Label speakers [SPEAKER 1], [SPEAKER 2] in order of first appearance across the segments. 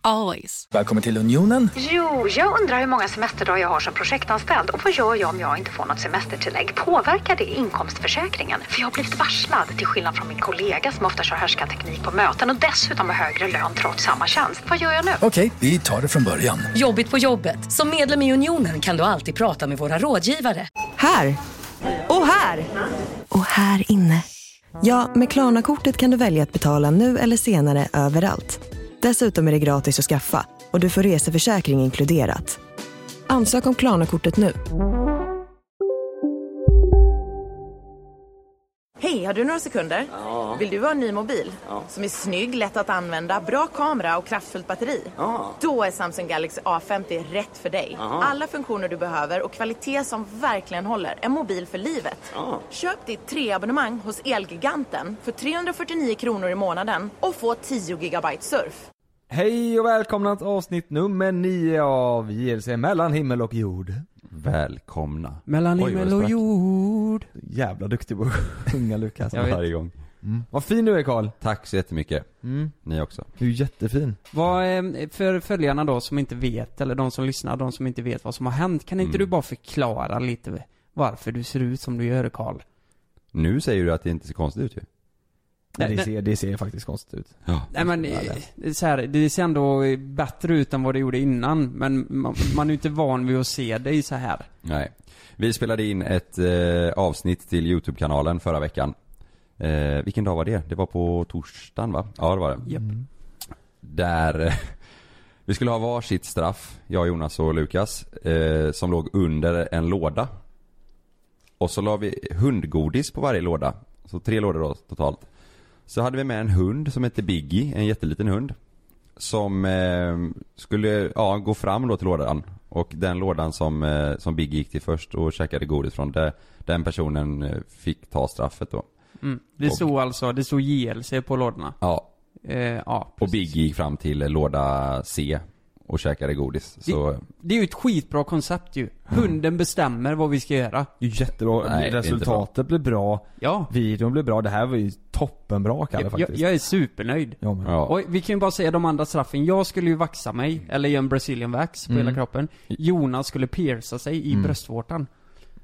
[SPEAKER 1] Always.
[SPEAKER 2] Välkommen till Unionen.
[SPEAKER 3] Jo, jag undrar hur många semesterdagar jag har som projektanställd och vad gör jag om jag inte får något semestertillägg? Påverkar det inkomstförsäkringen? För jag har blivit varslad, till skillnad från min kollega som ofta kör härskarteknik på möten och dessutom har högre lön trots samma tjänst. Vad gör jag nu?
[SPEAKER 2] Okej, vi tar det från början.
[SPEAKER 4] Jobbigt på jobbet. Som medlem i Unionen kan du alltid prata med våra rådgivare.
[SPEAKER 5] Här. Och här. Och här inne. Ja, med Klarna-kortet kan du välja att betala nu eller senare överallt. Dessutom är det gratis att skaffa och du får reseförsäkring inkluderat. Ansök om Klarna-kortet nu.
[SPEAKER 6] Hej, har du några sekunder? Vill du ha en ny mobil? Som är snygg, lätt att använda, bra kamera och kraftfullt batteri? Då är Samsung Galaxy A50 rätt för dig. Alla funktioner du behöver och kvalitet som verkligen håller. En mobil för livet. Köp ditt treabonnemang hos Elgiganten för 349 kronor i månaden och få 10 GB surf.
[SPEAKER 7] Hej och välkomna till avsnitt nummer 9 av JLC mellan himmel och jord.
[SPEAKER 8] Välkomna.
[SPEAKER 9] Mellan
[SPEAKER 8] Oj, vad
[SPEAKER 9] himmel
[SPEAKER 8] det
[SPEAKER 9] och
[SPEAKER 8] sprack.
[SPEAKER 9] jord.
[SPEAKER 7] Jävla duktig på att sjunga Lukas.
[SPEAKER 8] Varje gång.
[SPEAKER 7] Vad fin du är Karl.
[SPEAKER 8] Tack så jättemycket.
[SPEAKER 7] Mm.
[SPEAKER 8] Ni också.
[SPEAKER 7] Du är jättefin.
[SPEAKER 9] Vad, eh, för följarna då som inte vet, eller de som lyssnar, de som inte vet vad som har hänt, kan inte
[SPEAKER 8] Mm.
[SPEAKER 9] du bara förklara lite varför du ser ut som du gör Karl?
[SPEAKER 8] Nu säger du att det inte ser konstigt ut ju.
[SPEAKER 9] Nej,
[SPEAKER 7] Nej, det,
[SPEAKER 9] nej.
[SPEAKER 7] ser, det ser faktiskt konstigt ut.
[SPEAKER 8] Ja.
[SPEAKER 9] Nej men,
[SPEAKER 7] Ja,
[SPEAKER 9] eh,
[SPEAKER 7] det.
[SPEAKER 9] det är så här, det ser ändå bättre ut än vad det gjorde innan, men man, man är ju inte van vid att se dig så här.
[SPEAKER 8] Nej. Vi spelade in ett eh, avsnitt till YouTube-kanalen förra veckan. Eh, vilken dag var det? Det var på torsdagen va? Ja det var det.
[SPEAKER 9] Japp.
[SPEAKER 8] Där eh, vi skulle ha varsitt straff, jag, Jonas och Lukas, eh, som låg under en låda. Och så la vi hundgodis på varje låda. Så tre lådor då totalt. Så hade vi med en hund som hette Biggie, en jätteliten hund. Som eh, skulle, ja, gå fram då till lådan. Och den lådan som, eh, som Biggie gick till först och käkade godis från, det, den personen eh, fick ta straffet då.
[SPEAKER 9] Mm. Det
[SPEAKER 8] Och-
[SPEAKER 9] stod alltså, det stod JLC på lådorna.
[SPEAKER 8] Ja,
[SPEAKER 9] Eh, ja,
[SPEAKER 8] och
[SPEAKER 9] precis.
[SPEAKER 8] Biggie gick fram till eh, låda C och käkade godis. Så...
[SPEAKER 9] Det är ju ett skitbra koncept ju. Hunden bestämmer vad vi ska göra.
[SPEAKER 7] Det är Jättebra.
[SPEAKER 8] Nej, det är inte
[SPEAKER 7] Resultatet blev bra.
[SPEAKER 9] Ja.
[SPEAKER 7] Videon blev bra. Det här var ju toppenbra Kalle
[SPEAKER 9] Jag,
[SPEAKER 7] faktiskt.
[SPEAKER 9] jag är supernöjd.
[SPEAKER 7] Ja, men.
[SPEAKER 8] Ja.
[SPEAKER 9] Oj, vi kan ju bara säga de andra straffen. Jag skulle ju vaxa mig, eller göra en brazilian wax på hela
[SPEAKER 8] Mm.
[SPEAKER 9] kroppen. Jonas skulle pierca sig i bröstvårtan.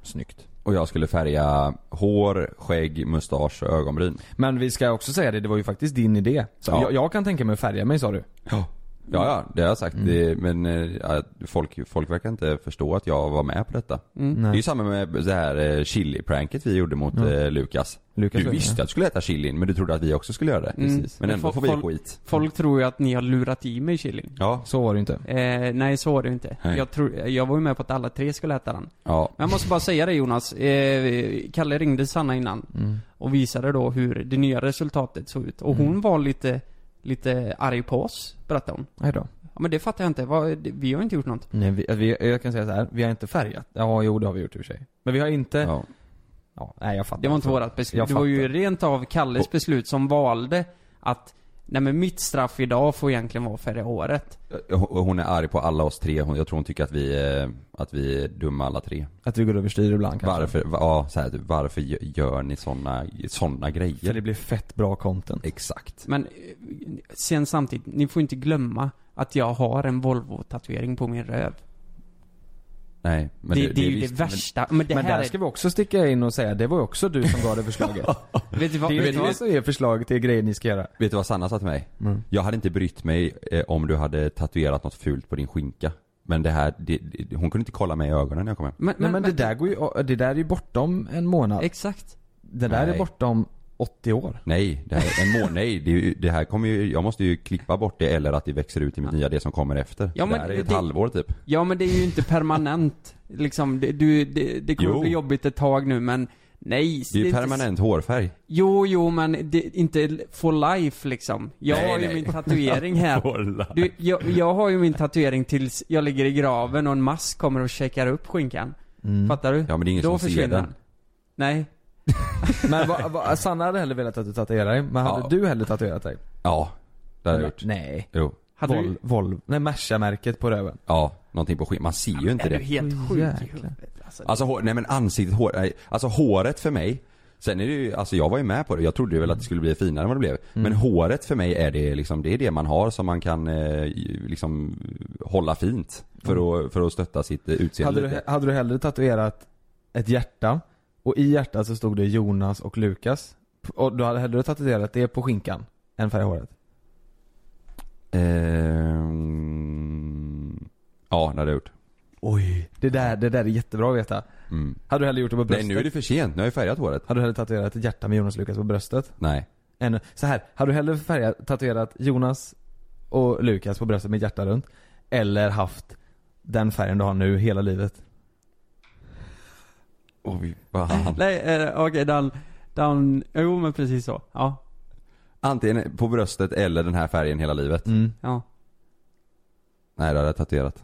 [SPEAKER 7] Snyggt.
[SPEAKER 8] Och jag skulle färga hår, skägg, mustasch och ögonbryn.
[SPEAKER 7] Men vi ska också säga det, det var ju faktiskt din idé. Så
[SPEAKER 8] Ja.
[SPEAKER 7] jag, jag kan tänka mig att färga mig sa du.
[SPEAKER 8] Ja. Ja, ja, det har jag
[SPEAKER 9] Mm.
[SPEAKER 8] sagt. Det, men eh, ja, folk, folk verkar inte förstå att jag var med på detta.
[SPEAKER 7] Mm.
[SPEAKER 8] Det är ju samma med det här eh, chili-pranket vi gjorde mot eh, Lukas.
[SPEAKER 7] Lukas
[SPEAKER 8] du
[SPEAKER 7] var-
[SPEAKER 8] visste att du skulle äta chilin, men du trodde att vi också skulle göra det.
[SPEAKER 9] Precis.
[SPEAKER 8] Men ändå
[SPEAKER 9] Mm. Men
[SPEAKER 8] får
[SPEAKER 9] fol-
[SPEAKER 8] vi
[SPEAKER 9] fol-
[SPEAKER 8] skit.
[SPEAKER 9] Folk tror ju att ni har lurat i mig chilin.
[SPEAKER 8] Ja.
[SPEAKER 7] Så var det ju inte.
[SPEAKER 9] Eh, nej, så var det ju inte.
[SPEAKER 8] Nej.
[SPEAKER 9] Jag, tror, jag var ju med på att alla tre skulle äta den.
[SPEAKER 8] ja.
[SPEAKER 9] Men jag måste bara säga det Jonas. Eh, Kalle ringde Sanna innan.
[SPEAKER 7] Mm.
[SPEAKER 9] Och visade då hur det nya resultatet såg ut. Och
[SPEAKER 7] Mm.
[SPEAKER 9] hon var lite, lite arg på oss, berättade hon.
[SPEAKER 7] Nej då.
[SPEAKER 9] Ja men det fattar jag inte. Vad, det- vi har inte gjort något.
[SPEAKER 7] Nej, vi, alltså, vi, jag kan säga så här. vi har inte färgat. Ja, jo det har vi gjort i och för sig. Men vi har inte, ja.
[SPEAKER 8] ja.
[SPEAKER 7] nej jag fattar. alltså.
[SPEAKER 9] Det var inte
[SPEAKER 7] Jag
[SPEAKER 9] vårat beslut.
[SPEAKER 7] Jag
[SPEAKER 9] Det var ju
[SPEAKER 7] fattar.
[SPEAKER 9] rent av Kalles beslut som valde att Nej men mitt straff idag får egentligen vara förra året.
[SPEAKER 8] Och Hon är arg på alla oss tre. Hon, jag tror hon tycker att vi, eh, att vi är dumma alla tre.
[SPEAKER 7] Att vi går överstyr ibland kanske.
[SPEAKER 8] Varför, va- ja, så här, typ, varför gö- gör ni såna, såna
[SPEAKER 7] För
[SPEAKER 8] grejer?
[SPEAKER 7] det blir fett bra content.
[SPEAKER 8] Exakt.
[SPEAKER 9] Men eh, sen samtidigt, ni får inte glömma att jag har en Volvo-tatuering på min röv.
[SPEAKER 8] Nej, men
[SPEAKER 9] det, det, är ju
[SPEAKER 8] visst-
[SPEAKER 9] det
[SPEAKER 8] men-
[SPEAKER 9] värsta. Men, det
[SPEAKER 7] men
[SPEAKER 9] här
[SPEAKER 7] där ska vi också sticka in och säga, det var ju också du som gav det förslaget.
[SPEAKER 9] är... Vet du vad?
[SPEAKER 7] det är
[SPEAKER 9] Vet
[SPEAKER 7] ju
[SPEAKER 9] du
[SPEAKER 7] du
[SPEAKER 9] vad?
[SPEAKER 7] som ger förslag till grejer ni ska göra.
[SPEAKER 8] Vet du vad Sanna sa till mig?
[SPEAKER 7] Mm.
[SPEAKER 8] Jag hade inte brytt mig eh, om du hade tatuerat något fult på din skinka. Men det här, det, det, hon kunde inte kolla mig i ögonen när jag kom hem.
[SPEAKER 9] Men,
[SPEAKER 7] Nej men det där går ju, det där är ju bortom en månad.
[SPEAKER 9] Exakt.
[SPEAKER 7] Det där är
[SPEAKER 8] Nej.
[SPEAKER 7] bortom 80 år.
[SPEAKER 8] Nej, det här är en månad. Nej, det, är ju- det här kommer ju, jag måste ju klippa bort det eller att det växer ut i mitt nya, det som kommer efter.
[SPEAKER 9] Ja,
[SPEAKER 8] det
[SPEAKER 9] men
[SPEAKER 8] här är ett
[SPEAKER 9] det-
[SPEAKER 8] halvår typ.
[SPEAKER 9] Ja men det är ju inte permanent. liksom, det, du, det, det kommer
[SPEAKER 8] Jo.
[SPEAKER 9] bli jobbigt ett tag nu men Nej,
[SPEAKER 8] Det är ju
[SPEAKER 9] inte-
[SPEAKER 8] permanent hårfärg.
[SPEAKER 9] Jo, jo, men det, inte for life liksom. Jag
[SPEAKER 8] Nej,
[SPEAKER 9] har ju
[SPEAKER 8] nej.
[SPEAKER 9] min tatuering här. Du, jag, jag har ju min tatuering tills jag ligger i graven
[SPEAKER 7] Mm.
[SPEAKER 9] och en mask kommer och checkar upp skinkan. Fattar du?
[SPEAKER 8] Ja, men det är ingen
[SPEAKER 9] Då
[SPEAKER 8] som ser
[SPEAKER 9] försvinner
[SPEAKER 8] den.
[SPEAKER 9] Nej.
[SPEAKER 7] Men va, va, Sanna hade hellre velat att du tatuerade dig, men hade
[SPEAKER 8] Ja.
[SPEAKER 7] du hellre tatuerat dig?
[SPEAKER 8] Ja, det har jag gjort.
[SPEAKER 7] Nej.
[SPEAKER 8] Jo.
[SPEAKER 9] Hade
[SPEAKER 7] Vol,
[SPEAKER 9] du,
[SPEAKER 7] Volvo, nej Merca-märket på röven.
[SPEAKER 8] Ja, någonting på skinn. Man ser ju inte
[SPEAKER 9] är du
[SPEAKER 8] det.
[SPEAKER 9] helt sjuk i
[SPEAKER 7] Jäklar.
[SPEAKER 9] huvudet? Alltså,
[SPEAKER 8] Alltså hår, nej men ansiktet, hår, nej, alltså håret för mig. Sen är det ju, alltså jag var ju med på det. Jag trodde ju väl att det skulle bli finare än vad det blev. Men håret för mig är det liksom, det är det man har som man kan eh, ju- liksom hålla fint. För att, för att stötta sitt eh, utseende
[SPEAKER 7] Hade du,
[SPEAKER 8] lite.
[SPEAKER 7] hade du hellre tatuerat ett hjärta, och i hjärtat så stod det Jonas och Lukas, och du hade hellre tatuerat det på skinkan, än färg i håret?
[SPEAKER 8] Ehm, ja, det hade jag gjort.
[SPEAKER 7] Oj. Det där, det där är jättebra att veta.
[SPEAKER 8] Mm.
[SPEAKER 7] Hade du hellre gjort det på bröstet?
[SPEAKER 8] Nej nu är det för sent, nu har jag färgat håret.
[SPEAKER 7] Hade du hellre tatuerat ett hjärta med Jonas och Lukas på bröstet?
[SPEAKER 8] Nej.
[SPEAKER 7] Än, så här, hade du hellre färgat, tatuerat Jonas och Lukas på bröstet med ett hjärta runt? Eller haft den färgen du har nu hela livet?
[SPEAKER 8] Oj, vad han.
[SPEAKER 9] nej, eh, okej, den, den, jo men precis så. Ja,
[SPEAKER 8] Antingen på bröstet eller den här färgen hela livet.
[SPEAKER 9] ja.
[SPEAKER 8] Nej det hade jag tatuerat.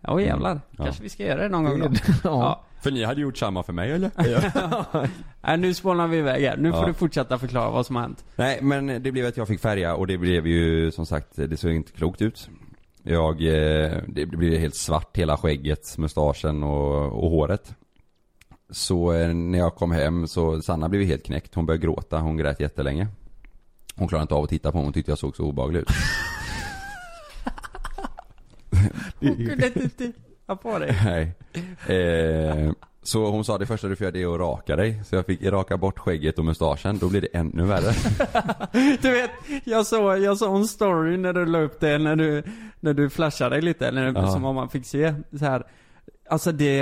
[SPEAKER 9] Ja och jävlar.
[SPEAKER 8] Ja.
[SPEAKER 9] Kanske vi ska göra Oh. det någon gång då.
[SPEAKER 7] Ja.
[SPEAKER 9] Ja.
[SPEAKER 8] För ni hade gjort samma för mig eller?
[SPEAKER 9] Nej, nu spånar vi iväg här. Nu
[SPEAKER 8] Ja.
[SPEAKER 9] får du fortsätta förklara vad som har hänt.
[SPEAKER 8] Nej men det blev att jag fick färga och det blev ju som sagt, det såg inte klokt ut. Jag, eh, det blev helt svart hela skägget, mustaschen och, och håret. Så eh, när jag kom hem så, Sanna blev ju helt knäckt. Hon började gråta, hon grät jättelänge. Hon klarade inte av att titta på mig, hon tyckte jag såg så obehaglig ut.
[SPEAKER 9] Hon kunde inte titta på dig.
[SPEAKER 8] Nej. Eh, så hon sa det första du får göra det är att raka dig. Så jag fick raka bort skägget och mustaschen, då blir det ännu värre.
[SPEAKER 9] Du vet, jag såg, jag såg en story när du la upp det, när du, när du flashade dig lite, eller
[SPEAKER 8] Ja.
[SPEAKER 9] som om man fick se så här. Alltså det,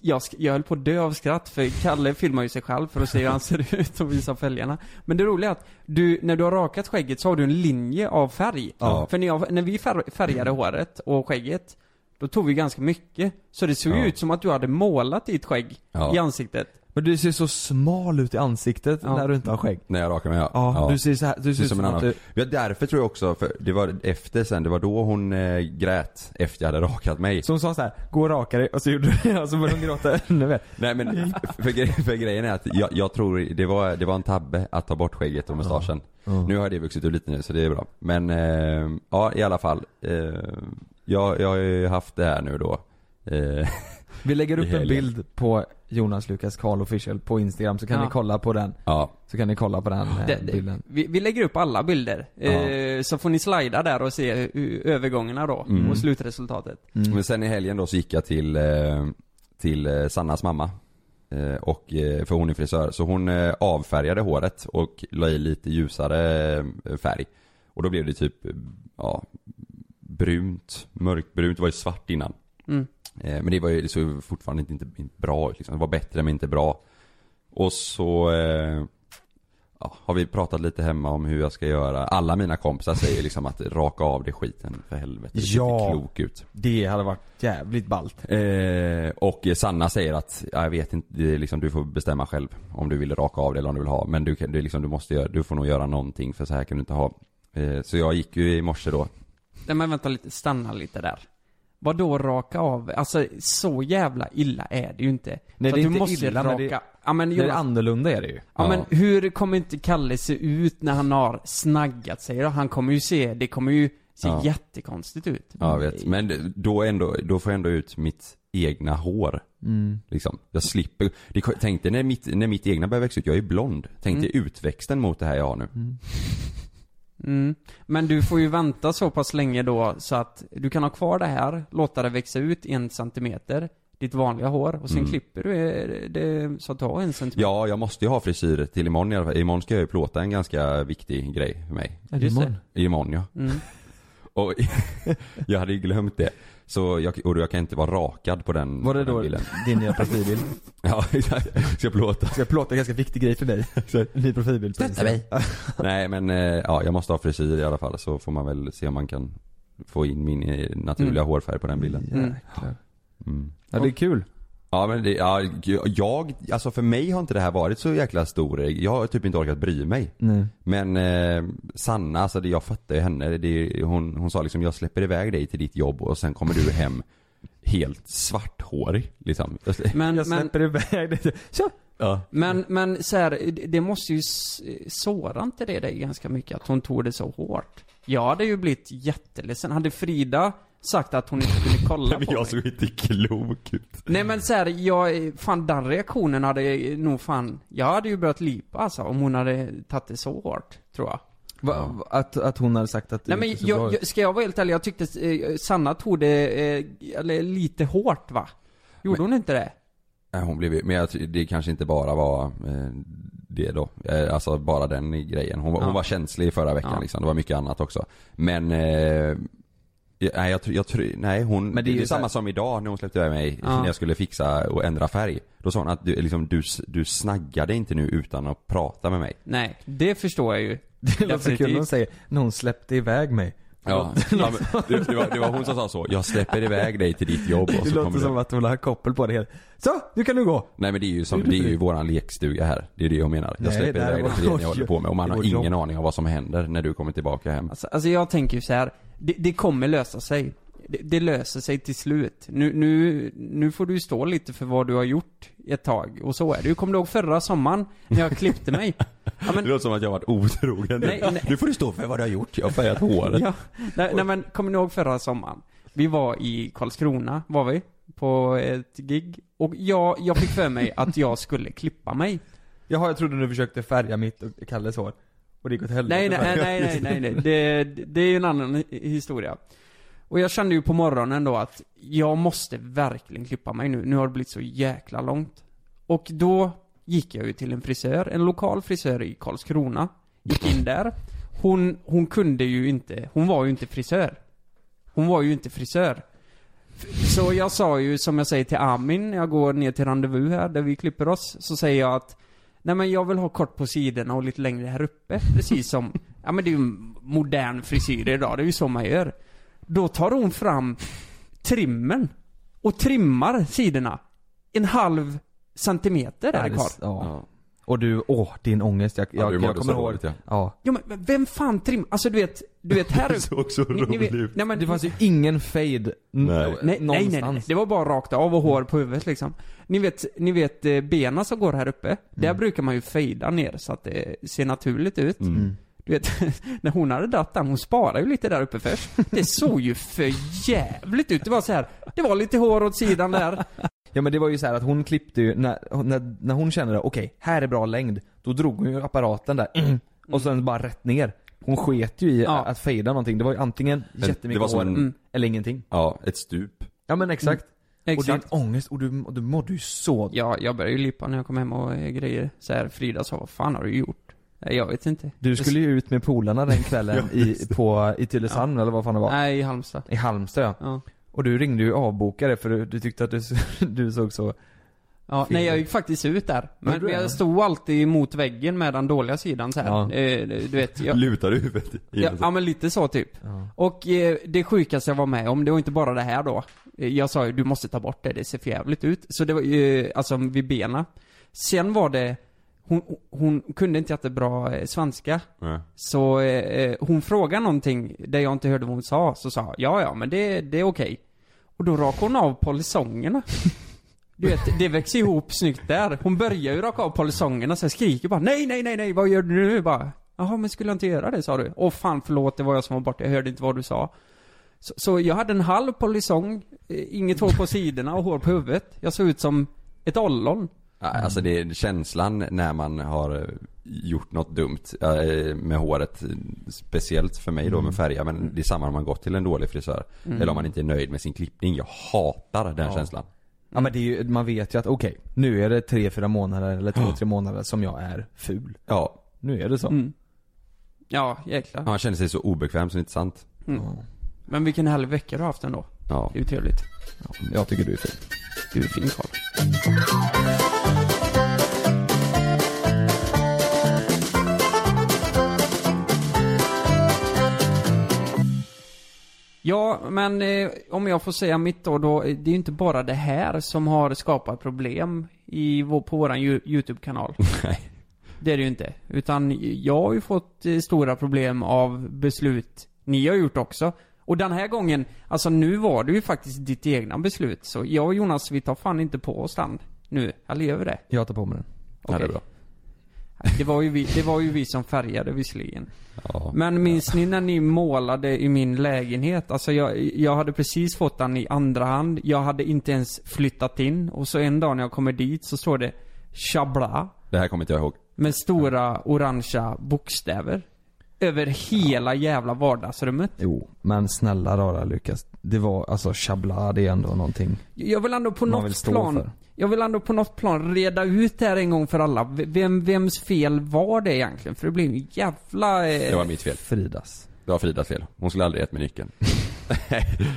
[SPEAKER 9] jag, sk- jag höll på att dö av skratt för Kalle filmar ju sig själv för att se hur han ser ut och visa fälgarna. Men det roliga är att du, när du har rakat skägget så har du en linje av färg.
[SPEAKER 8] Ja. Mm.
[SPEAKER 9] För när, jag, när vi fär, färgade håret och skägget, då tog vi ganska mycket. Så det såg ju
[SPEAKER 8] Ja.
[SPEAKER 9] ut som att du hade målat ditt skägg
[SPEAKER 8] Ja.
[SPEAKER 9] i ansiktet.
[SPEAKER 7] Men du ser så smal ut i ansiktet
[SPEAKER 9] Ja.
[SPEAKER 7] när du inte har skägg.
[SPEAKER 8] När jag rakar mig, ja.
[SPEAKER 7] Ja,
[SPEAKER 8] Ja.
[SPEAKER 7] du ser så här, du ser
[SPEAKER 8] Ser
[SPEAKER 7] ut
[SPEAKER 8] som en
[SPEAKER 7] som att
[SPEAKER 8] annan.
[SPEAKER 7] du,
[SPEAKER 8] Ja, därför tror jag också, för det var efter sen, det var då hon eh, grät efter jag hade rakat mig.
[SPEAKER 7] som sa så här, gå och raka dig och så gjorde du det och så började hon gråta ännu mer.
[SPEAKER 8] Nej men, för, gre- för grejen är att jag, jag tror det var, det var en tabbe att ta bort skägget och mustaschen. Nu har det vuxit ut lite nu så det är bra. Men, eh, ja i alla fall. Eh, jag, jag har ju haft det här nu då. Eh,
[SPEAKER 7] Vi lägger
[SPEAKER 8] I
[SPEAKER 7] upp en
[SPEAKER 8] helgen.
[SPEAKER 7] bild på Jonas Lukas Karl official på instagram så kan
[SPEAKER 9] Ja.
[SPEAKER 7] ni kolla på den.
[SPEAKER 8] ja.
[SPEAKER 7] Så kan ni kolla på den eh,
[SPEAKER 9] Det- det-
[SPEAKER 7] bilden.
[SPEAKER 9] Vi, vi lägger upp alla bilder, eh, så får ni slida där och se hur- övergångarna då,
[SPEAKER 7] Mm.
[SPEAKER 9] och slutresultatet.
[SPEAKER 8] Men sen i helgen då så gick jag till, eh, till eh, Sannas mamma. Eh, Och, eh, för hon är frisör. Så hon eh, avfärgade håret och la i lite ljusare eh, färg. Och då blev det typ, eh, ja, brunt, mörkbrunt. Det var ju svart innan.
[SPEAKER 9] Mm.
[SPEAKER 8] Eh, Men det var ju det såg ju fortfarande inte, inte bra ut liksom. Det var bättre men inte bra. Och så eh, ja, har vi pratat lite hemma om hur jag ska göra. Alla mina kompisar säger liksom att raka av det skiten för helvete. Det ser
[SPEAKER 7] Ja.
[SPEAKER 8] inte klok ut.
[SPEAKER 7] Det hade varit jävligt ballt.
[SPEAKER 8] Eh, och Sanna säger att, ja, jag vet inte, det är liksom, du får bestämma själv om du vill raka av det eller om du vill ha. Men du, kan, du, liksom, du, måste göra, du får nog göra någonting för så här kan du inte ha. Eh, så jag gick ju i morse då.
[SPEAKER 9] Nej men vänta lite, stanna lite där. Vad då raka av? Alltså så jävla illa är det ju inte.
[SPEAKER 7] Nej,
[SPEAKER 9] så
[SPEAKER 7] det är
[SPEAKER 9] att
[SPEAKER 7] inte
[SPEAKER 9] du måste
[SPEAKER 7] illa, men
[SPEAKER 9] raka.
[SPEAKER 7] det-
[SPEAKER 9] ja, men,
[SPEAKER 7] Det är
[SPEAKER 9] Jonas,
[SPEAKER 7] annorlunda är det ju.
[SPEAKER 9] ja,
[SPEAKER 8] Ja.
[SPEAKER 9] men hur kommer inte Kalle se ut när han har snaggat sig då? Han kommer ju se, det kommer ju se
[SPEAKER 8] Ja.
[SPEAKER 9] jättekonstigt ut.
[SPEAKER 8] Ja, jag vet. Men det- då, ändå, då får jag ändå ut mitt egna hår. Liksom. Jag slipper. Det, tänk dig när mitt, när mitt egna börjar växa ut, jag är ju blond. Tänk dig utväxten mot det här jag har nu.
[SPEAKER 9] Mm. Men du får ju vänta så pass länge då så att du kan ha kvar det här, låta det växa ut en centimeter, ditt vanliga hår och sen klipper du eh, det så att du har en centimeter.
[SPEAKER 8] Mm. Ja, jag måste ju ha frisyr till imorgon i alla fall. Imorgon ska jag ju plåta en ganska viktig grej för mig.
[SPEAKER 7] Är
[SPEAKER 9] Just det.
[SPEAKER 8] Imorgon ja.
[SPEAKER 9] Mm.
[SPEAKER 8] Och jag hade ju glömt det. Så jag, och jag kan inte vara rakad på den,
[SPEAKER 7] Var det
[SPEAKER 8] den
[SPEAKER 7] då
[SPEAKER 8] bilden.
[SPEAKER 7] din nya profilbild?
[SPEAKER 8] Ja, exakt. Ska jag plåta?
[SPEAKER 7] Ska jag plåta en ganska viktig grej för dig? Ny profilbild. Stötta mig.
[SPEAKER 8] Nej men eh, ja, jag måste ha frisyr i alla fall så får man väl se om man kan få in min eh, naturliga hårfärg på den bilden.
[SPEAKER 9] Mm.
[SPEAKER 8] Mm.
[SPEAKER 7] Ja det är kul.
[SPEAKER 8] Ja men det, ja, jag, alltså för mig har inte det här varit så jäkla stor Jag har typ inte orkat bry mig.
[SPEAKER 7] Nej.
[SPEAKER 8] Men eh, Sanna, alltså det, jag fattar ju henne. Det, hon, hon sa liksom jag släpper iväg dig till ditt jobb och sen kommer du hem helt svarthårig liksom.
[SPEAKER 9] Men,
[SPEAKER 7] Jag
[SPEAKER 9] men,
[SPEAKER 7] släpper iväg dig. Så,
[SPEAKER 8] Ja.
[SPEAKER 9] Men, men så här, det måste ju s- såra inte det dig ganska mycket att hon tog det så hårt? Jag hade ju blivit jätteledsen. Hade Frida sagt att hon inte skulle kolla
[SPEAKER 8] Men
[SPEAKER 9] på mig?
[SPEAKER 8] jag såg inte klok ut.
[SPEAKER 9] Nej men så här, jag, fan den reaktionen hade nog fan, jag hade ju börjat lipa alltså om hon hade tagit det så hårt, tror jag.
[SPEAKER 7] Va, va- att, att hon hade sagt att det
[SPEAKER 9] Nej men
[SPEAKER 7] gick så bra
[SPEAKER 9] jag,
[SPEAKER 7] ut.
[SPEAKER 9] jag, ska jag vara helt ärlig, jag tyckte eh, Sanna tog det, eh, eller lite hårt va? Gjorde hon inte det?
[SPEAKER 8] Nej, hon blev ju- men jag, ty- det kanske inte bara var eh, det då. Eh, alltså bara den grejen. Hon, var-
[SPEAKER 9] Ja.
[SPEAKER 8] hon var känslig i förra veckan
[SPEAKER 9] Ja.
[SPEAKER 8] liksom. Det var mycket annat också. Men, eh, nej jag, tror- jag tror, nej hon,
[SPEAKER 7] Men
[SPEAKER 8] men
[SPEAKER 7] det
[SPEAKER 8] det
[SPEAKER 7] är
[SPEAKER 8] är
[SPEAKER 7] ju så här-
[SPEAKER 8] samma som idag när hon släppte iväg mig
[SPEAKER 9] Ja.
[SPEAKER 8] när jag skulle fixa och ändra färg. Då sa hon att du, liksom, du, s- du snaggade inte nu utan att prata med mig.
[SPEAKER 9] Nej, det förstår jag ju.
[SPEAKER 7] Det låter så kul när hon säger, när hon släppte iväg mig.
[SPEAKER 8] Ja, ja men, det, det, var, det var hon som sa så. Jag släpper iväg dig till ditt jobb och
[SPEAKER 7] Det
[SPEAKER 8] så
[SPEAKER 7] låter
[SPEAKER 8] kommer du.
[SPEAKER 7] som att hon vill ha koppel på det hela. Så, nu kan du gå!
[SPEAKER 8] Nej men det är ju, som, det är ju våran lekstuga här. Det är det jag menar. Jag
[SPEAKER 7] Nej,
[SPEAKER 8] släpper
[SPEAKER 7] där
[SPEAKER 8] iväg
[SPEAKER 7] var-
[SPEAKER 8] dig till det
[SPEAKER 7] Oj.
[SPEAKER 8] ni håller på med och man
[SPEAKER 7] Det
[SPEAKER 8] har
[SPEAKER 7] var
[SPEAKER 8] ingen
[SPEAKER 7] jobb.
[SPEAKER 8] aning om vad som händer när du kommer tillbaka hem.
[SPEAKER 9] Alltså, alltså jag tänker ju så här. Det, det kommer lösa sig. Det, det löser sig till slut. Nu, nu, nu får du ju stå lite för vad du har gjort ett tag. Och så är det ju. Kommer du ihåg förra sommaren när jag klippte mig? Ja, men,
[SPEAKER 8] Det låter som att jag har varit otrogen.
[SPEAKER 9] Nej, nej.
[SPEAKER 8] Nu får du stå för vad du har gjort. Jag har färgat håret.
[SPEAKER 9] ja, nej, nej men kommer ni ihåg förra sommaren? Vi var i Karlskrona, var vi? På ett gig. Och jag, jag fick för mig att jag skulle klippa mig.
[SPEAKER 7] Jaha, jag trodde du försökte färga mitt och Kalles hår. Och det gick åt helvete.
[SPEAKER 9] Nej, nej, nej, nej, nej, nej. Det, det är ju en annan hi- historia. Och jag kände ju på morgonen då att jag måste verkligen klippa mig nu. Nu har det blivit så jäkla långt. Och då gick jag ju till en frisör, en lokal frisör i Karlskrona. Gick in där. Hon, hon kunde ju inte, hon var ju inte frisör. Hon var ju inte frisör. Så jag sa ju, som jag säger till Amin, när jag går ner till rendezvous här, där vi klipper oss, så säger jag att Nej men jag vill ha kort på sidorna och lite längre här uppe, precis som Ja men det är ju en modern frisyr idag, det är ju så man gör Då tar hon fram trimmen och trimmar sidorna En halv centimeter är det kvar
[SPEAKER 7] Ja. Och du, åh din ångest. Jag,
[SPEAKER 8] Ja,
[SPEAKER 7] jag,
[SPEAKER 8] du
[SPEAKER 7] jag
[SPEAKER 8] mådde
[SPEAKER 7] kommer
[SPEAKER 8] så
[SPEAKER 7] ihåg.
[SPEAKER 8] dåligt, ja.
[SPEAKER 9] Ja men vem fan trimmar? Alltså du vet, du vet här uppe
[SPEAKER 8] såg så
[SPEAKER 9] ni- ni vet- Nej men
[SPEAKER 7] Det fanns ju ingen fade nej.
[SPEAKER 9] Nej, nej, nej,
[SPEAKER 7] eh,
[SPEAKER 9] nej.
[SPEAKER 7] någonstans.
[SPEAKER 9] Det var bara rakt av och hår på huvudet liksom. Ni vet, ni vet eh, benen som går här uppe.
[SPEAKER 7] Mm.
[SPEAKER 9] Där brukar man ju fejda ner så att det ser naturligt ut. Du vet, när hon hade dratt den, hon sparade ju lite där uppe först. Det såg ju för jävligt ut. Det var så här, det var lite hår åt sidan där.
[SPEAKER 7] Ja men det var ju så här att hon klippte ju, när, när, när hon kände det, okej, här är bra längd. Då drog hon ju apparaten där, och sen bara rätt ner. Hon sket ju i
[SPEAKER 9] Mm. Ja.
[SPEAKER 7] att fejda någonting. Det var ju antingen
[SPEAKER 8] det
[SPEAKER 7] jättemycket
[SPEAKER 8] var som
[SPEAKER 7] hår,
[SPEAKER 8] en-
[SPEAKER 7] mm, eller ingenting.
[SPEAKER 8] Ja, ett stup.
[SPEAKER 7] Ja men exakt. Och din
[SPEAKER 9] Mm. Exakt.
[SPEAKER 7] ångest, och du, och du mådde ju så
[SPEAKER 9] Ja, jag började ju lippa när jag kom hem och eh, grejer. Så här, Frida sa, vad fan har du gjort? Nej, Jag vet inte.
[SPEAKER 7] Du skulle ju ut med polarna den kvällen i, på, i Tylösand eller vad fan det var?
[SPEAKER 9] Nej, i Halmstad.
[SPEAKER 7] I Halmstad ja.
[SPEAKER 9] Ja.
[SPEAKER 7] Och du ringde ju avbokare för du, du tyckte att du, du såg så...
[SPEAKER 9] Ja,
[SPEAKER 7] Filmen.
[SPEAKER 9] nej jag gick faktiskt ut där. Men,
[SPEAKER 7] Gjorde du
[SPEAKER 9] men
[SPEAKER 7] det?
[SPEAKER 9] jag stod alltid mot väggen med den dåliga sidan så här.
[SPEAKER 7] Ja.
[SPEAKER 9] Eh, Du vet, jag,
[SPEAKER 8] Lutar huvudet i
[SPEAKER 9] ja,
[SPEAKER 8] den.
[SPEAKER 9] ja men lite så typ.
[SPEAKER 7] Ja.
[SPEAKER 9] Och eh, det sjukaste jag var med om, det var inte bara det här då. Eh, Jag sa ju du måste ta bort det, det ser för jävligt ut. Så det var ju, alltså vid bena. Sen var det, hon, hon kunde inte jättebra eh, svenska.
[SPEAKER 8] Nej.
[SPEAKER 9] Så eh, eh, hon frågade någonting där jag inte hörde vad hon sa, så sa jag, ja ja men det, det är okej. Och då rakade hon av polisongerna. Du vet, det växer ihop snyggt där. Hon börjar ju raka av polisongerna, sen skriker bara nej, nej, nej, nej, vad gör du nu? Bara, jaha men skulle jag inte göra det sa du? Åh fan förlåt, det var jag som var borta, jag hörde inte vad du sa. Så, så jag hade en halv polisong, eh, inget hår på sidorna och hår på huvudet. Jag såg ut som ett ollon.
[SPEAKER 8] Ja, Alltså det är känslan när man har eh, gjort något dumt eh, med håret. eh, Speciellt för mig då med färga. Men det är samma om man gått till en dålig frisör. Eller om man inte är nöjd med sin klippning. Jag hatar den känslan.
[SPEAKER 7] Ja men det är ju, man vet ju att okej, nu är det tre fyra månader eller två tre månader som jag är ful.
[SPEAKER 8] Ja,
[SPEAKER 7] Nu är det så.
[SPEAKER 9] Ja, jäklar.
[SPEAKER 8] man känner sig så obekväm så det är inte sant.
[SPEAKER 9] Men vilken härlig vecka du har haft ändå.
[SPEAKER 8] Ja.
[SPEAKER 9] Det är ju trevligt.
[SPEAKER 7] Jag tycker du är ful.
[SPEAKER 9] Du är fin Karl. Ja, men eh, om jag får säga mitt då, då, eh, det är ju inte bara det här som har skapat problem i vår, på våran Yo- YouTube-kanal.
[SPEAKER 8] Nej.
[SPEAKER 9] Det är det ju inte. Utan jag har ju fått eh, stora problem av beslut ni har gjort också. Och den här gången, alltså nu var det ju faktiskt ditt egna beslut. Så jag och Jonas, vi tar fan inte på oss den nu. Eller gör vi det?
[SPEAKER 7] Jag tar på mig den.
[SPEAKER 8] Ja, det är
[SPEAKER 9] Okej.
[SPEAKER 8] bra.
[SPEAKER 9] Det var ju vi, det var ju vi som färgade visserligen.
[SPEAKER 8] Ja.
[SPEAKER 9] Men minns ni när ni målade i min lägenhet? Alltså jag, jag hade precis fått den i andra hand. Jag hade inte ens flyttat in. Och så en dag när jag kommer dit så står det 'Chabla'
[SPEAKER 8] Det här kommer inte jag ihåg.
[SPEAKER 9] med stora orangea bokstäver. Över hela jävla vardagsrummet.
[SPEAKER 7] Jo, men snälla rara Lukas. Det var, alltså chabla, det är ändå någonting.
[SPEAKER 9] Jag vill ändå på
[SPEAKER 7] Man vill
[SPEAKER 9] något
[SPEAKER 7] stå
[SPEAKER 9] plan
[SPEAKER 7] för.
[SPEAKER 9] Jag vill ändå på något plan reda ut det här en gång för alla. V- Vem, vems fel var det egentligen? För det blev en jävla...
[SPEAKER 8] Det
[SPEAKER 9] Eh,
[SPEAKER 8] var mitt fel.
[SPEAKER 7] Fridas.
[SPEAKER 8] Det var Fridas fel. Hon skulle aldrig gett mig nyckeln.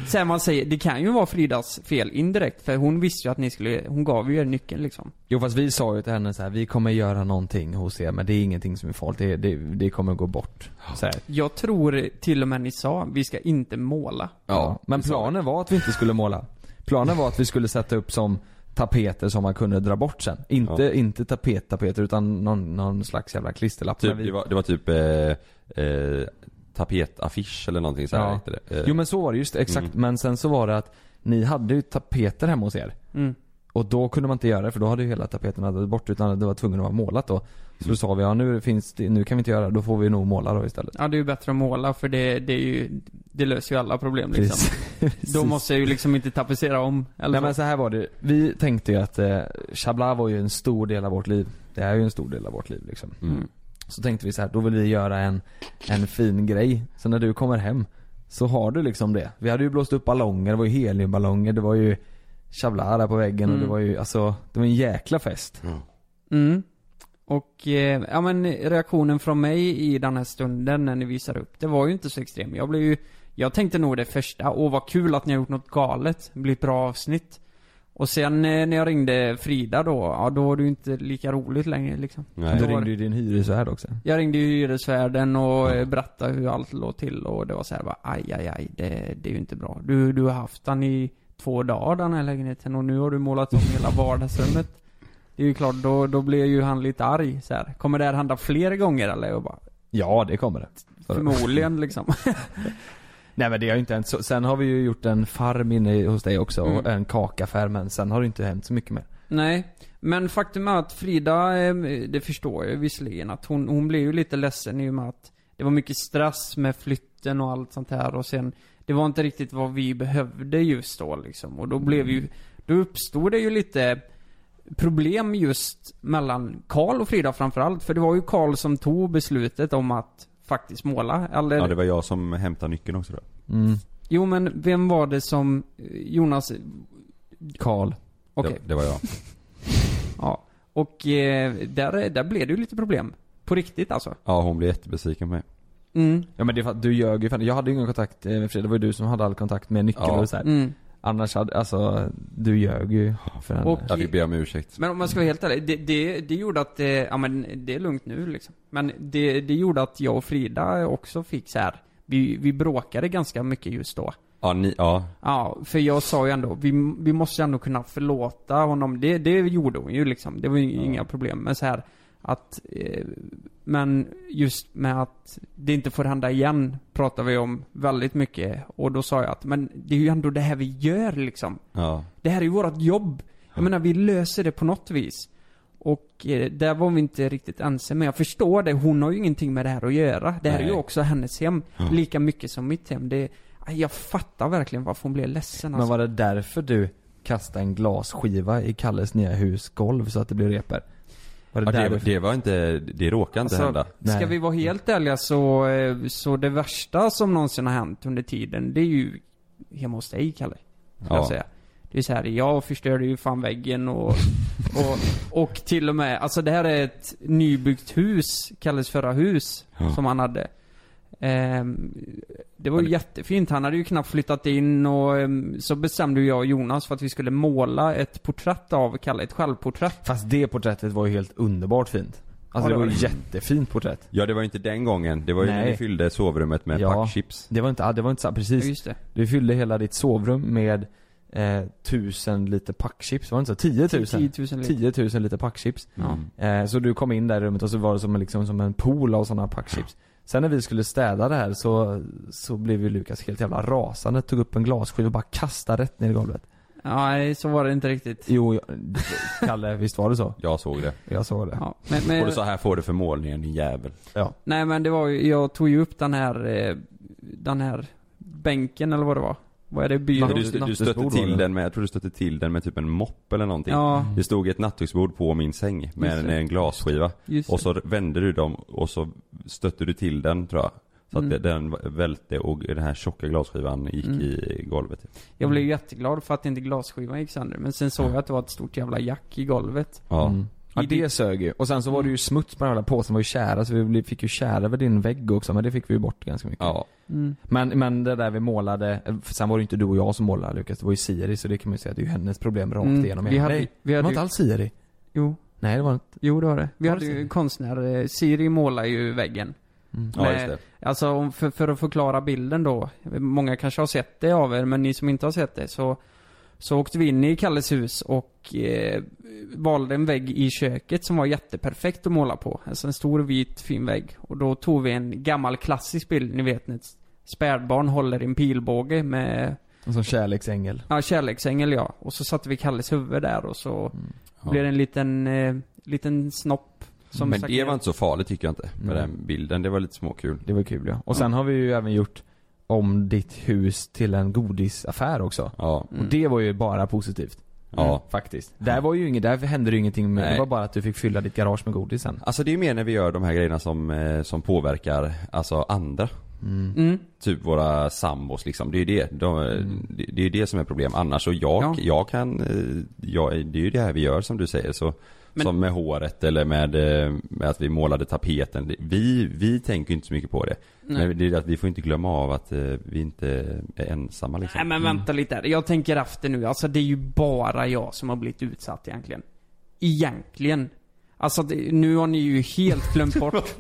[SPEAKER 9] Sen man säger, det kan ju vara Fridas fel indirekt. För hon visste ju att ni skulle, hon gav ju er nyckeln liksom.
[SPEAKER 7] Jo fast vi sa ju till henne så här, vi kommer göra någonting hos er men det är ingenting som är farligt, det, det, det kommer gå bort. Så här.
[SPEAKER 9] Jag tror till och med ni sa, vi ska inte måla.
[SPEAKER 7] Ja, men planen var att vi inte skulle måla. Planen var att vi skulle sätta upp som tapeter som man kunde dra bort sen. Inte,
[SPEAKER 8] Ja.
[SPEAKER 7] inte tapettapeter utan någon, någon slags jävla klisterlapp.
[SPEAKER 8] Typ,
[SPEAKER 7] Men vi-
[SPEAKER 8] det, var, det var typ eh, eh, tapetaffisch eller någonting så här
[SPEAKER 7] Ja.
[SPEAKER 8] hette det. Eh, Mm.
[SPEAKER 7] Jo men så var det, just det, exakt. Men sen så var det att ni hade ju tapeter hemma hos er. Och då kunde man inte göra det för då hade ju hela tapeterna dragit bort utan det var tvungen att vara målat då. Så
[SPEAKER 8] Mm.
[SPEAKER 7] då sa vi ja nu finns det, nu kan vi inte göra det, då får vi nog måla då istället.
[SPEAKER 9] Ja, det är ju bättre att måla för det, det är ju, det löser ju alla problem liksom.
[SPEAKER 7] Precis.
[SPEAKER 9] Då måste jag ju liksom inte tapetsera om. Eller
[SPEAKER 7] Nej men så här var det, vi tänkte ju att eh, Chabla var ju en stor del av vårt liv. Det är ju en stor del av vårt liv liksom.
[SPEAKER 8] Mm.
[SPEAKER 7] Så tänkte vi så här, då vill vi göra en, en fin grej. Så när du kommer hem så har du liksom det. Vi hade ju blåst upp ballonger, det var ju heliumballonger, det var ju Chabla där på väggen och det var ju alltså, det var en jäkla fest.
[SPEAKER 9] Mm. Och, eh, ja men reaktionen från mig i den här stunden när ni visar upp, det var ju inte så extrem. Jag blev ju, jag tänkte nog det första, åh vad kul att ni har gjort något galet, det blir ett bra avsnitt. Och sen eh, när jag ringde Frida då, ja då var det ju inte lika roligt längre liksom.
[SPEAKER 8] Nej.
[SPEAKER 7] Du ringde ju din hyresvärd också.
[SPEAKER 9] Jag ringde ju hyresvärden och eh, berättade hur allt låg till och det var så här bara, aj, aj, aj det, det är ju inte bra. Du, du har haft den i två dagar den här lägenheten och nu har du målat om hela vardagsrummet. Det är ju klart, då, då blir ju han lite arg så här. Kommer det här hända fler gånger eller? Jag bara,
[SPEAKER 7] Ja det kommer det. Så-
[SPEAKER 9] förmodligen liksom.
[SPEAKER 7] Nej men det har ju inte hänt. Så, sen har vi ju gjort en farm inne hos dig också och en kakaffär men sen har det inte hänt så mycket mer.
[SPEAKER 9] Nej, men faktum är att Frida, eh, det förstår jag ju visserligen, att hon, hon blev ju lite ledsen i och med att det var mycket stress med flytten och allt sånt här och sen, det var inte riktigt vad vi behövde just då liksom. Och då blev
[SPEAKER 8] Mm.
[SPEAKER 9] ju, då uppstod det ju lite problem just mellan Karl och Frida framförallt. För det var ju Karl som tog beslutet om att faktiskt måla. Eller,
[SPEAKER 8] Ja, det var jag som hämtade nyckeln också då.
[SPEAKER 9] jo men vem var det som, eh, Jonas,
[SPEAKER 7] Karl.
[SPEAKER 9] okej.
[SPEAKER 8] Det, det var jag.
[SPEAKER 9] Ja. Och eh, där, där blev det ju lite problem. På riktigt alltså.
[SPEAKER 8] Ja, hon blev jättebesviken på mig.
[SPEAKER 9] Mm.
[SPEAKER 7] Ja men det är för att du ljög ju för Jag hade ju ingen kontakt eh, med Frida, det var ju du som hade all kontakt med nyckeln
[SPEAKER 8] Ja.
[SPEAKER 7] och så här.
[SPEAKER 9] Mm.
[SPEAKER 7] Annars hade, alltså du ljög ju för henne.
[SPEAKER 9] Och-
[SPEAKER 8] Jag fick be om ursäkt.
[SPEAKER 9] Men om man ska vara helt ärlig, det, det, det gjorde att, eh, ja men det är lugnt nu liksom. Men det, det gjorde att jag och Frida också fick så här. Vi, vi bråkade ganska mycket just då.
[SPEAKER 8] Ja, ni, ja.
[SPEAKER 9] Ja, för jag sa ju ändå, vi, vi måste ändå kunna förlåta honom. Det, det gjorde hon ju liksom. Det var ju inga problem. Men så här att, eh, men just med att det inte får hända igen pratar vi om väldigt mycket. Och då sa jag att, men det är ju ändå det här vi gör liksom.
[SPEAKER 8] ja.
[SPEAKER 9] Det här är ju vårt jobb. Jag menar, vi löser det på något vis. Och eh, där var vi inte riktigt ense, men jag förstår det. Hon har ju ingenting med det här att göra. Det här är ju
[SPEAKER 8] Nej.
[SPEAKER 9] också hennes hem. Lika mycket som mitt hem. Det, aj, jag fattar verkligen varför hon blev ledsen
[SPEAKER 7] Men
[SPEAKER 9] alltså.
[SPEAKER 7] var det därför du kastade en glasskiva i Kalles nya husgolv så att det blev repor? Var det
[SPEAKER 8] ja det,
[SPEAKER 7] därför?
[SPEAKER 8] det var inte, det råkade inte hända.
[SPEAKER 7] Nej.
[SPEAKER 9] Alltså, Ska vi vara helt ärliga så, eh, så det värsta som någonsin har hänt under tiden, det är ju hemma hos dig Kalle. Ska
[SPEAKER 8] Ja.
[SPEAKER 9] jag säga. Det är så här, jag förstörde ju fan väggen och, och, och till och med, alltså det här är ett nybyggt hus, Kalles förra hus, som han hade. Ehm, det var ju jättefint, han hade ju knappt flyttat in och ehm, så bestämde ju jag och Jonas för att vi skulle måla ett porträtt av Kalle, ett självporträtt.
[SPEAKER 7] Fast det porträttet var ju helt underbart fint. Alltså
[SPEAKER 9] Ja, det
[SPEAKER 7] det var
[SPEAKER 9] var
[SPEAKER 7] ju jättefint porträtt.
[SPEAKER 8] Ja, det var ju inte den gången. Det var ju när
[SPEAKER 7] Nej.
[SPEAKER 8] ni fyllde sovrummet med
[SPEAKER 7] Ja.
[SPEAKER 8] packchips.
[SPEAKER 7] Det var inte, ah, det var inte så,
[SPEAKER 9] Ja,
[SPEAKER 7] precis.
[SPEAKER 9] just det.
[SPEAKER 7] Du fyllde hela ditt sovrum med eh, tusen liter packchips, var det inte så? 10 000?
[SPEAKER 9] 10 000 liter.
[SPEAKER 7] 10 000 liter packchips.
[SPEAKER 9] Ja.
[SPEAKER 7] Eh, så du kom in där i rummet och så var det som en, liksom, som en pool av sådana packchips. Sen när vi skulle städa det här så, så blev ju Lukas helt jävla rasande, tog upp en glasskiva och bara kastade rätt ner i golvet.
[SPEAKER 9] Nej, så var det inte riktigt.
[SPEAKER 7] Jo, jag, Kalle, visst var det så?
[SPEAKER 8] Jag såg det.
[SPEAKER 7] Jag såg det.
[SPEAKER 9] Ja, men, men,
[SPEAKER 8] Och du sa här får du för målningen din jävel.
[SPEAKER 7] Ja.
[SPEAKER 9] Nej men det var ju, jag tog ju upp den här, eh, den här bänken eller vad det var. Vad är det? Byrån?
[SPEAKER 8] Du, du, du stötte
[SPEAKER 7] Nattduksbord var
[SPEAKER 8] till
[SPEAKER 7] det.
[SPEAKER 8] den med, jag tror du stötte till den med typ en mopp eller någonting.
[SPEAKER 9] Ja,
[SPEAKER 8] Det stod ett nattduksbord på min säng med
[SPEAKER 9] Just
[SPEAKER 8] en,
[SPEAKER 9] det.
[SPEAKER 8] en glasskiva.
[SPEAKER 9] just
[SPEAKER 8] Och
[SPEAKER 9] det.
[SPEAKER 8] så vände du dem och så stötte du till den tror jag. Så att
[SPEAKER 9] Mm.
[SPEAKER 8] den välte och den här tjocka glasskivan gick
[SPEAKER 9] Mm.
[SPEAKER 8] i golvet.
[SPEAKER 9] Jag
[SPEAKER 7] Mm.
[SPEAKER 9] blev ju jätteglad för att inte glasskivan gick sönder. Men sen såg jag att det var ett stort jävla jack i golvet.
[SPEAKER 8] Ja.
[SPEAKER 7] Mm. Ja
[SPEAKER 9] I din-
[SPEAKER 7] det sög ju. Och sen så var
[SPEAKER 8] Mm.
[SPEAKER 7] det ju smuts på den här jävla påsen, var ju tjära så vi blev- fick ju tjära över din vägg också men det fick vi ju bort ganska mycket.
[SPEAKER 8] ja.
[SPEAKER 9] Mm.
[SPEAKER 7] Men, men det där vi målade, eh, sen var det ju inte du och jag som målade Lukas, det var ju Siri så det kan man ju säga att det är ju hennes problem rakt
[SPEAKER 9] Mm,
[SPEAKER 7] igenom.
[SPEAKER 9] vi hade-
[SPEAKER 7] Nej,
[SPEAKER 9] vi hade
[SPEAKER 7] det var
[SPEAKER 9] ju-
[SPEAKER 7] inte alls Siri.
[SPEAKER 9] Jo,
[SPEAKER 7] Nej det var inte.
[SPEAKER 9] jo det var det. Vi
[SPEAKER 7] Var
[SPEAKER 9] hade
[SPEAKER 7] det
[SPEAKER 9] ju
[SPEAKER 7] Siri?
[SPEAKER 9] konstnär, eh, Siri målar ju väggen.
[SPEAKER 8] Mm. ja, just det.
[SPEAKER 9] Alltså om, för, för att förklara bilden då. Många kanske har sett det av er, men ni som inte har sett det så så åkte vi in i Kalles hus och eh, valde en vägg i köket som var jätteperfekt att måla på. Alltså en stor vit fin vägg. Och då tog vi en gammal klassisk bild, ni vet när ett spädbarn håller i en pilbåge med,
[SPEAKER 7] En sån kärleksängel.
[SPEAKER 9] ja kärleksängel ja. Och så satte vi Kalles huvud där och så
[SPEAKER 8] Mm. Ja.
[SPEAKER 9] blev det en liten, eh, liten snopp. Som
[SPEAKER 8] Men
[SPEAKER 9] stack
[SPEAKER 8] det
[SPEAKER 9] ner. Mm.
[SPEAKER 8] var inte så farligt tycker jag inte. Med
[SPEAKER 7] Nej.
[SPEAKER 8] den bilden, det var lite småkul.
[SPEAKER 7] Det var kul ja. Och sen har vi ju även gjort om ditt hus till en godisaffär också.
[SPEAKER 8] Ja.
[SPEAKER 9] Mm.
[SPEAKER 7] Och det var ju bara positivt. Mm,
[SPEAKER 8] Ja.
[SPEAKER 7] Faktiskt. Där var ju inget, där hände det ju ingenting med,
[SPEAKER 8] Nej.
[SPEAKER 7] det var bara att du fick fylla ditt garage med godis sen.
[SPEAKER 8] Alltså det är ju mer när vi gör de här grejerna som, eh, som påverkar, alltså andra.
[SPEAKER 9] Mm.
[SPEAKER 8] Typ våra sambos liksom, det är ju det. De,
[SPEAKER 7] Mm.
[SPEAKER 8] det, det är ju det som är problem. Annars så jag,
[SPEAKER 9] Ja.
[SPEAKER 8] jag kan, eh, jag, det är ju det här vi gör som du säger. Så,
[SPEAKER 9] Men-
[SPEAKER 8] Som med håret eller med, eh, med att vi målade tapeten. Det- Vi, vi tänker ju inte så mycket på det.
[SPEAKER 9] Nej.
[SPEAKER 8] Men det är att vi får inte glömma av att eh, vi inte är ensamma liksom.
[SPEAKER 9] Nej men vänta lite här. Jag tänker efter nu. Alltså det är ju bara jag som har blivit utsatt egentligen. Egentligen. Alltså det, nu har ni ju helt glömt bort.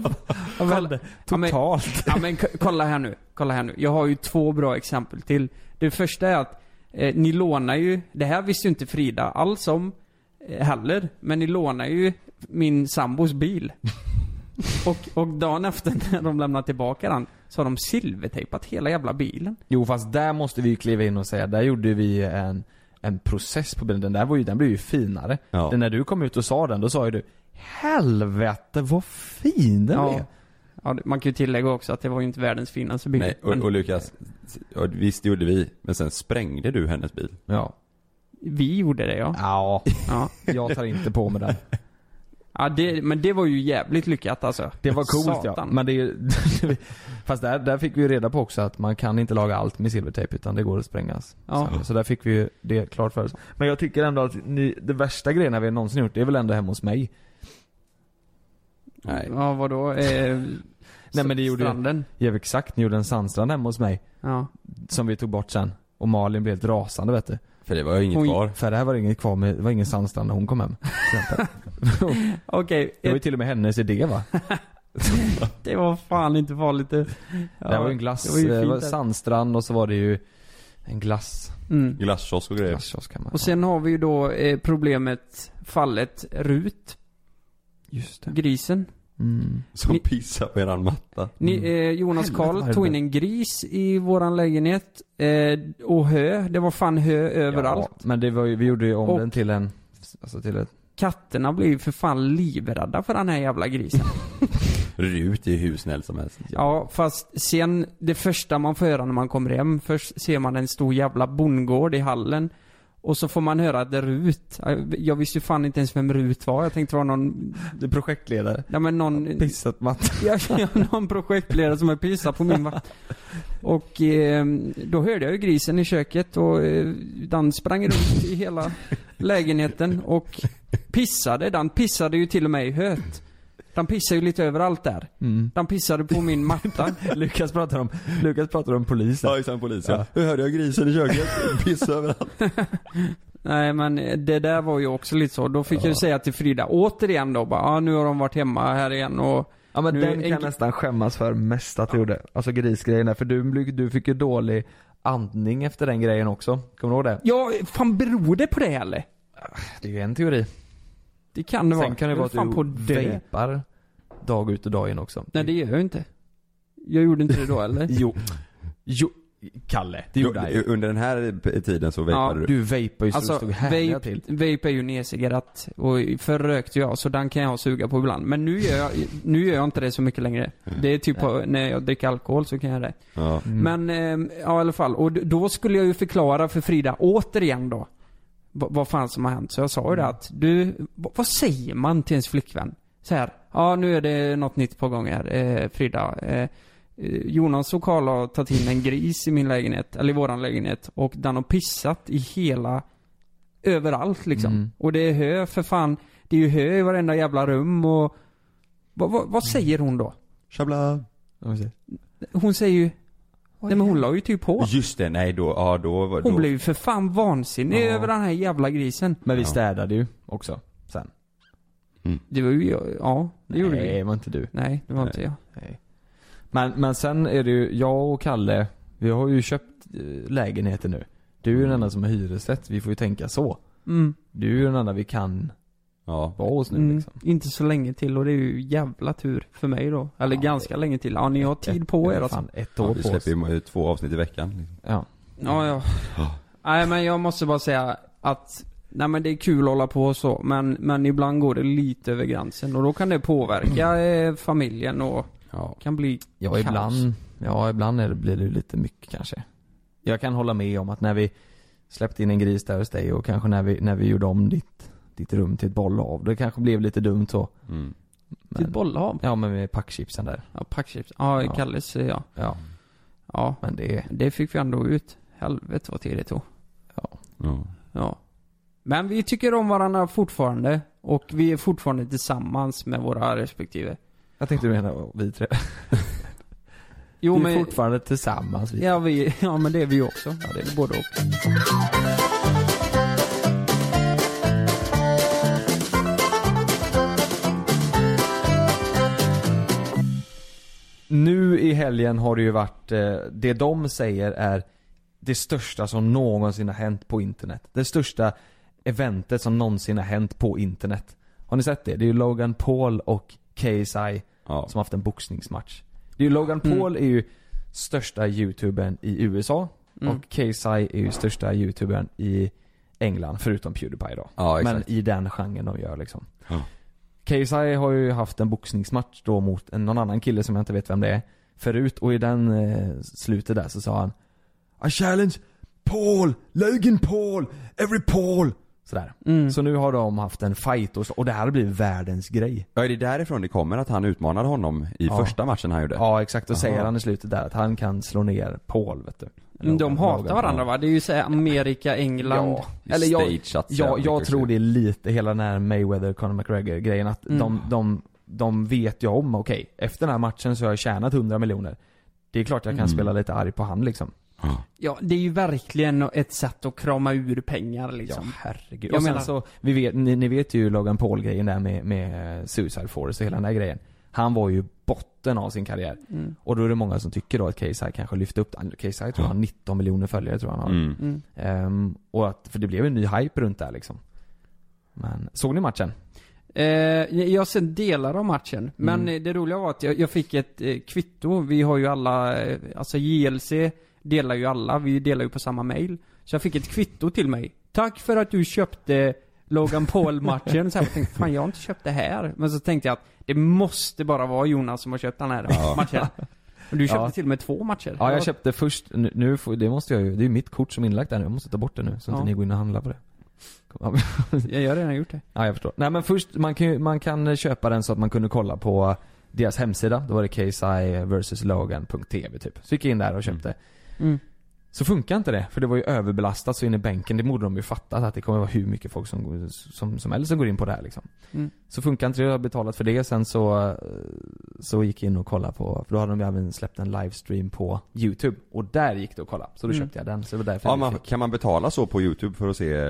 [SPEAKER 9] Kolla,
[SPEAKER 7] Totalt.
[SPEAKER 9] Ja men k- kolla här nu. Kolla här nu. Jag har ju två bra exempel till. Det första är att eh, ni lånar ju, det här visste ju inte Frida alls om eh, heller. Men ni lånar ju min sambos bil. och, och dagen efter när de lämnar tillbaka den så har de silvertejpat hela jävla bilen.
[SPEAKER 7] Jo fast där måste vi ju kliva in och säga, där gjorde vi en, en process på bilen. Den där var ju, den blev ju finare.
[SPEAKER 8] Ja.
[SPEAKER 7] Den när du kom ut och sa den, då sa ju du Helvete vad fin den
[SPEAKER 9] Ja.
[SPEAKER 7] är.
[SPEAKER 9] Ja, det- man kan ju tillägga också att det var ju inte världens finaste bil.
[SPEAKER 8] Nej, och,
[SPEAKER 9] Men
[SPEAKER 8] och Lukas, och visst det gjorde vi, men sen sprängde du hennes bil.
[SPEAKER 7] Ja.
[SPEAKER 9] Vi gjorde det ja.
[SPEAKER 7] Ja,
[SPEAKER 9] Ja,
[SPEAKER 7] jag tar inte på mig den.
[SPEAKER 9] ja det, men det var ju jävligt lyckat alltså.
[SPEAKER 7] Det var coolt ja.
[SPEAKER 9] Satan.
[SPEAKER 7] Men det är ju- Fast där, där fick vi ju reda på också att man kan inte laga allt med silvertejp utan det går att sprängas.
[SPEAKER 9] Ja.
[SPEAKER 7] Så, så där fick vi ju det klart för oss. Men jag tycker ändå att ni, det värsta grejerna vi någonsin gjort, det är väl ändå hemma hos mig.
[SPEAKER 8] Nej.
[SPEAKER 9] Ja, vadå? Eh,
[SPEAKER 7] Nej, men det gjorde ju-
[SPEAKER 9] stranden.
[SPEAKER 7] Ja exakt, ni gjorde en sandstrand hemma hos mig.
[SPEAKER 9] Ja.
[SPEAKER 7] Som vi tog bort sen. Och Malin blev helt rasande vet du.
[SPEAKER 8] För det var ju inget
[SPEAKER 9] Oj.
[SPEAKER 8] kvar.
[SPEAKER 7] För det här var det inget kvar med, det var ingen sandstrand när hon kom hem. till exempel.
[SPEAKER 9] Okej,
[SPEAKER 7] Det var ju
[SPEAKER 9] ett-
[SPEAKER 7] till och med hennes idé va?
[SPEAKER 9] det var fan inte farligt det. Ja,
[SPEAKER 7] det här var ju en glass,
[SPEAKER 9] det
[SPEAKER 7] det
[SPEAKER 9] var
[SPEAKER 7] var
[SPEAKER 9] ju fint
[SPEAKER 7] det var
[SPEAKER 9] där.
[SPEAKER 7] sandstrand och så var det ju en glass.
[SPEAKER 9] Mm.
[SPEAKER 8] Glasskiosk och grejer.
[SPEAKER 7] Glasskiosk kan man
[SPEAKER 9] Och sen har vi ju då eh, problemet, fallet Rut,
[SPEAKER 7] Just det.
[SPEAKER 9] grisen.
[SPEAKER 7] Mm.
[SPEAKER 8] Som
[SPEAKER 9] Ni-
[SPEAKER 8] pissar på eran matta.
[SPEAKER 9] Ni,
[SPEAKER 7] Mm.
[SPEAKER 9] eh, Jonas
[SPEAKER 7] Helvete, vad är
[SPEAKER 9] Karl
[SPEAKER 7] det
[SPEAKER 9] tog
[SPEAKER 7] där?
[SPEAKER 9] in en gris i våran lägenhet. Eh, och hö, det var fan hö överallt.
[SPEAKER 7] Ja, men det var ju, vi gjorde ju om
[SPEAKER 9] Och-
[SPEAKER 7] den till en, alltså till ett,
[SPEAKER 9] Katterna blev ju för fan livrädda för den här jävla grisen.
[SPEAKER 8] Rut är hur snäll som helst.
[SPEAKER 9] ja, fast sen det första man får höra när man kommer hem, först ser man en stor jävla bondgård i hallen. Och så får man höra att det är Rut. Jag- Jag visste ju fan inte ens vem Rut var. Jag tänkte det var någon,
[SPEAKER 7] du projektledare.
[SPEAKER 9] ja men någon,
[SPEAKER 7] Pissat matta.
[SPEAKER 9] jag, jag, någon projektledare som är pissad på min vakt. Och eh, då hörde jag ju grisen i köket och eh, den sprang runt i hela lägenheten och pissade. Den pissade ju till och med i höet. Den pissade ju lite överallt där.
[SPEAKER 7] Mm.
[SPEAKER 9] Den pissade på min matta.
[SPEAKER 7] Lukas pratar om, Lukas pratar om polisen.
[SPEAKER 8] Ja, exakt polis ja. Nu hörde jag grisen i köket, pissa överallt.
[SPEAKER 9] Nej men eh, det där var ju också lite så. Då fick jag ju säga till Frida återigen då bara, ah, nu har de varit hemma här igen och
[SPEAKER 7] Ja men
[SPEAKER 9] Nu
[SPEAKER 7] den
[SPEAKER 9] en-
[SPEAKER 7] kan jag nästan skämmas för mest att du gjorde. Alltså grisgrejen där, för du, blev- du fick ju dålig andning efter den grejen också. Kommer du ihåg det?
[SPEAKER 9] Ja, fan beror det på det eller?
[SPEAKER 7] Det är ju en teori.
[SPEAKER 9] Det kan det vara.
[SPEAKER 7] Sen kan det
[SPEAKER 9] Jag
[SPEAKER 7] vara
[SPEAKER 9] är
[SPEAKER 7] att
[SPEAKER 9] fan på
[SPEAKER 7] du
[SPEAKER 9] det.
[SPEAKER 7] vejpar dag ut och dag in också.
[SPEAKER 9] Nej det gör jag ju inte. Jag gjorde inte det då eller?
[SPEAKER 7] Jo. Jo. Kalle. Det gjorde han ju.
[SPEAKER 8] Under den här p- tiden så vejpade du.
[SPEAKER 7] Du vejpade ju så det
[SPEAKER 9] Alltså,
[SPEAKER 7] stod härliga
[SPEAKER 9] vape,
[SPEAKER 7] till.
[SPEAKER 9] vape är ju en e-cigarett och förr rökte jag så den kan jag suga på ibland. Men nu gör jag, nu gör jag inte det så mycket längre.
[SPEAKER 7] Mm.
[SPEAKER 9] Det är typ på, när jag dricker alkohol så kan jag det.
[SPEAKER 8] Ja.
[SPEAKER 9] Men, eh, ja i alla fall. Och d- då skulle jag ju förklara för Frida återigen då. v- Vad fan som har hänt. Så jag sa ju det att, du, v- vad säger man till ens flickvän? Så här, ja nu är det något nytt på gång här, eh, Frida. Eh, eh, Jonas och Karl har tagit in en gris i min lägenhet, eller i våran lägenhet. Och den har pissat i hela, överallt liksom.
[SPEAKER 8] Mm.
[SPEAKER 9] Och det är hö för fan. Det är ju hö i varenda jävla rum och... Vad, vad,
[SPEAKER 8] Mm.
[SPEAKER 9] vad säger hon då?
[SPEAKER 8] Shabla.
[SPEAKER 9] Hon säger ju... Nej men hon la ju typ på.
[SPEAKER 8] Just det, nej då, ja då var
[SPEAKER 9] Hon
[SPEAKER 8] då,
[SPEAKER 9] blev ju för fan vansinnig
[SPEAKER 7] Ja.
[SPEAKER 9] över den här jävla grisen.
[SPEAKER 7] Men vi städade ju också sen.
[SPEAKER 9] Det var ju jag, ja det gjorde
[SPEAKER 7] Nej,
[SPEAKER 9] vi.
[SPEAKER 7] det var inte du.
[SPEAKER 9] Nej, det var inte jag.
[SPEAKER 7] Men, men sen är det ju, jag och Kalle, vi har ju köpt eh, lägenheten nu. Du är ju den
[SPEAKER 8] Mm.
[SPEAKER 7] enda som har hyresrätt, vi får ju tänka så.
[SPEAKER 9] Mm.
[SPEAKER 7] Du är ju den enda vi kan
[SPEAKER 8] ja.
[SPEAKER 7] vara hos nu
[SPEAKER 9] Mm.
[SPEAKER 7] liksom.
[SPEAKER 9] Inte så länge till och det är ju jävla tur för mig då. Eller
[SPEAKER 7] Ja,
[SPEAKER 9] ganska länge till. Ja ni har tid på er alltså.
[SPEAKER 7] Fan, ett
[SPEAKER 8] ja
[SPEAKER 7] år
[SPEAKER 8] vi
[SPEAKER 7] på oss.
[SPEAKER 8] släpper ju två avsnitt i veckan. Liksom.
[SPEAKER 7] Ja.
[SPEAKER 9] Ja, ja.
[SPEAKER 8] Ja.
[SPEAKER 9] Nej men jag måste bara säga att Nej men det är kul att hålla på och så men, men ibland går det lite över gränsen och då kan det påverka eh, familjen och
[SPEAKER 8] Ja.
[SPEAKER 9] kan bli
[SPEAKER 7] Ja
[SPEAKER 9] kaos.
[SPEAKER 7] ibland, ja ibland är det, blir det ju lite mycket kanske. Jag kan hålla med om att när vi släppte in en gris där hos dig och kanske när vi, när vi gjorde om ditt, ditt rum till ett bollhav. Det kanske blev lite dumt så.
[SPEAKER 8] Mm.
[SPEAKER 7] Men,
[SPEAKER 9] Till bollhav?
[SPEAKER 7] Ja men med packchipsen där.
[SPEAKER 9] Ja, packchips. Ja,
[SPEAKER 7] Ja.
[SPEAKER 9] Kalles ja.
[SPEAKER 7] Ja,
[SPEAKER 9] Ja.
[SPEAKER 7] men det är,
[SPEAKER 9] Det fick vi ändå ut. Helvete vad tid det tog.
[SPEAKER 8] Ja.
[SPEAKER 9] Ja. Men vi tycker om varandra fortfarande och vi är fortfarande tillsammans med våra respektive.
[SPEAKER 7] jag tänkte du menar vi tre.
[SPEAKER 9] Jo
[SPEAKER 7] vi är
[SPEAKER 9] men...
[SPEAKER 7] fortfarande tillsammans vi.
[SPEAKER 9] Ja, vi, ja men det är vi också. Ja, det är både och.
[SPEAKER 7] Nu i helgen har det ju varit, eh, det de säger är det största som någonsin har hänt på internet. Det största eventet som någonsin har hänt på internet. Har ni sett det? Det är ju Logan Paul och KSI
[SPEAKER 8] Ja.
[SPEAKER 7] som har haft en boxningsmatch. Det är ju Logan Paul är ju största youtubern i USA
[SPEAKER 9] Mm.
[SPEAKER 7] och KSI är ju största youtubern i England förutom Pewdiepie då.
[SPEAKER 8] Ja,
[SPEAKER 7] Men
[SPEAKER 8] exakt.
[SPEAKER 7] i den genren de gör liksom.
[SPEAKER 8] Ja.
[SPEAKER 7] KSI har ju haft en boxningsmatch då mot en, någon annan kille som jag inte vet vem det är förut och i den eh, slutet där så sa han I challenge Paul, Logan Paul, every Paul. Sådär.
[SPEAKER 9] Mm.
[SPEAKER 7] Så nu har de haft en fight och, så, och det här blir världens grej.
[SPEAKER 8] ja, är det därifrån det kommer att han utmanade honom i
[SPEAKER 7] Ja.
[SPEAKER 8] första matchen han gjorde?
[SPEAKER 7] Ja exakt, och säger
[SPEAKER 8] Aha.
[SPEAKER 7] han i slutet där att han kan slå ner Paul vet du. Eller
[SPEAKER 9] Mm, De
[SPEAKER 7] Logan-
[SPEAKER 9] hatar
[SPEAKER 7] Logan.
[SPEAKER 9] varandra va? Det är ju såhär Amerika, England.
[SPEAKER 7] Ja. Eller jag,
[SPEAKER 8] Stageat så
[SPEAKER 7] jag,
[SPEAKER 8] jävla
[SPEAKER 7] jag
[SPEAKER 8] mycket.
[SPEAKER 7] tror det är lite hela den här Mayweather, Conor McGregor grejen att
[SPEAKER 9] Mm.
[SPEAKER 7] de, de, de vet ju om, okej, efter den här matchen så har jag tjänat 100 miljoner. Det är klart jag kan spela lite arg på han liksom.
[SPEAKER 9] Ja, det är ju verkligen ett sätt att krama ur pengar
[SPEAKER 7] Ja
[SPEAKER 9] liksom.
[SPEAKER 7] herregud.
[SPEAKER 9] Jag
[SPEAKER 7] Och sen
[SPEAKER 9] menar-
[SPEAKER 7] så, vi vet, ni, ni vet ju Logan Paul grejen där med, med Suicide Force och hela den där grejen. Han var ju botten av sin karriär.
[SPEAKER 9] Mm.
[SPEAKER 7] Och då är det många som tycker då att KSI kanske lyfte upp den. KSI tror jag har 19 miljoner följare tror jag han har.
[SPEAKER 8] Mm.
[SPEAKER 7] Ehm, och att, för det blev en ny hype runt där liksom. Men, såg ni matchen?
[SPEAKER 9] Eh, jag har sett delar av matchen, men
[SPEAKER 7] Mm.
[SPEAKER 9] eh, det roliga var att jag, jag fick ett eh, kvitto. Vi har ju alla, eh, alltså JLC delar ju alla, vi delar ju på samma mail. Så jag fick ett kvitto till mig. Tack för att du köpte Logan Paul-matchen. Så här, jag tänkte, fan jag har inte köpt det här. Men så tänkte jag att det måste bara vara Jonas som har köpt den här matchen. Och du köpte
[SPEAKER 7] Ja.
[SPEAKER 9] till och med två matcher.
[SPEAKER 7] Ja jag köpte först, nu, nu får, det måste jag ju, det är ju mitt kort som är inlagt där nu, jag måste ta bort det nu så att
[SPEAKER 9] Ja.
[SPEAKER 7] ni går in och handlar på det. Kom, ja.
[SPEAKER 9] Jag har redan gjort det.
[SPEAKER 7] Ja, jag förstår. Nej men först, man kan, ju- man kan eh, köpa den så att man kunde kolla på deras hemsida. Då var det ksiversuslogan.tv typ. Så gick jag in där och köpte.
[SPEAKER 9] Mm.
[SPEAKER 7] Så funkar inte det, för det var ju överbelastat så in i bänken. Det borde de ju fattat att det kommer vara hur mycket folk som, som, som helst som går in på det här liksom.
[SPEAKER 9] Mm.
[SPEAKER 7] Så funkar inte det, jag har betalat för det. Sen så, eh, så gick jag in och kollade på, för då hade de ju även släppt en livestream på YouTube. Och där gick det att kolla. Så då
[SPEAKER 9] Mm.
[SPEAKER 7] köpte jag den. Så det var därför
[SPEAKER 8] Ja,
[SPEAKER 7] jag
[SPEAKER 8] man,
[SPEAKER 7] fick-
[SPEAKER 8] kan man betala så på youtube för att se?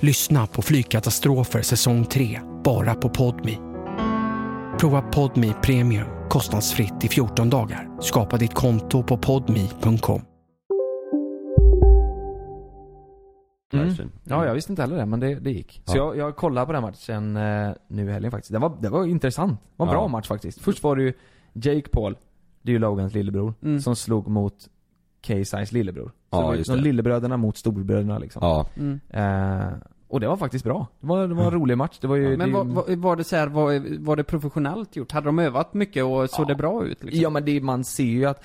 [SPEAKER 10] Lyssna på Flygkatastrofer säsong 3, bara på Podmi. Prova Podmi Premium kostnadsfritt i 14 dagar. Skapa ditt konto på podmi.com.
[SPEAKER 7] Mm. Ja, jag visste inte heller det, men det, det gick. Så
[SPEAKER 10] Ja.
[SPEAKER 7] jag, jag kollade på den matchen eh, nu i helgen faktiskt. Det var, det var intressant. Det var en bra
[SPEAKER 9] Ja.
[SPEAKER 7] match faktiskt. Först var det ju Jake Paul, det är ju Logans lillebror,
[SPEAKER 9] Mm.
[SPEAKER 7] som slog mot K-Size lillebror. Så
[SPEAKER 8] Ja,
[SPEAKER 7] det var ju
[SPEAKER 8] just
[SPEAKER 7] som
[SPEAKER 8] det.
[SPEAKER 7] lillebröderna mot storbröderna liksom.
[SPEAKER 8] Ja.
[SPEAKER 9] Mm.
[SPEAKER 7] Eh, och det var faktiskt bra. Det var, det var en
[SPEAKER 8] Mm.
[SPEAKER 7] rolig match. Det var ju...
[SPEAKER 9] Men
[SPEAKER 7] det,
[SPEAKER 9] var, var, var det så här, var, var det professionellt gjort? Hade de övat mycket och såg det bra ut liksom?
[SPEAKER 7] Ja men det, man ser ju att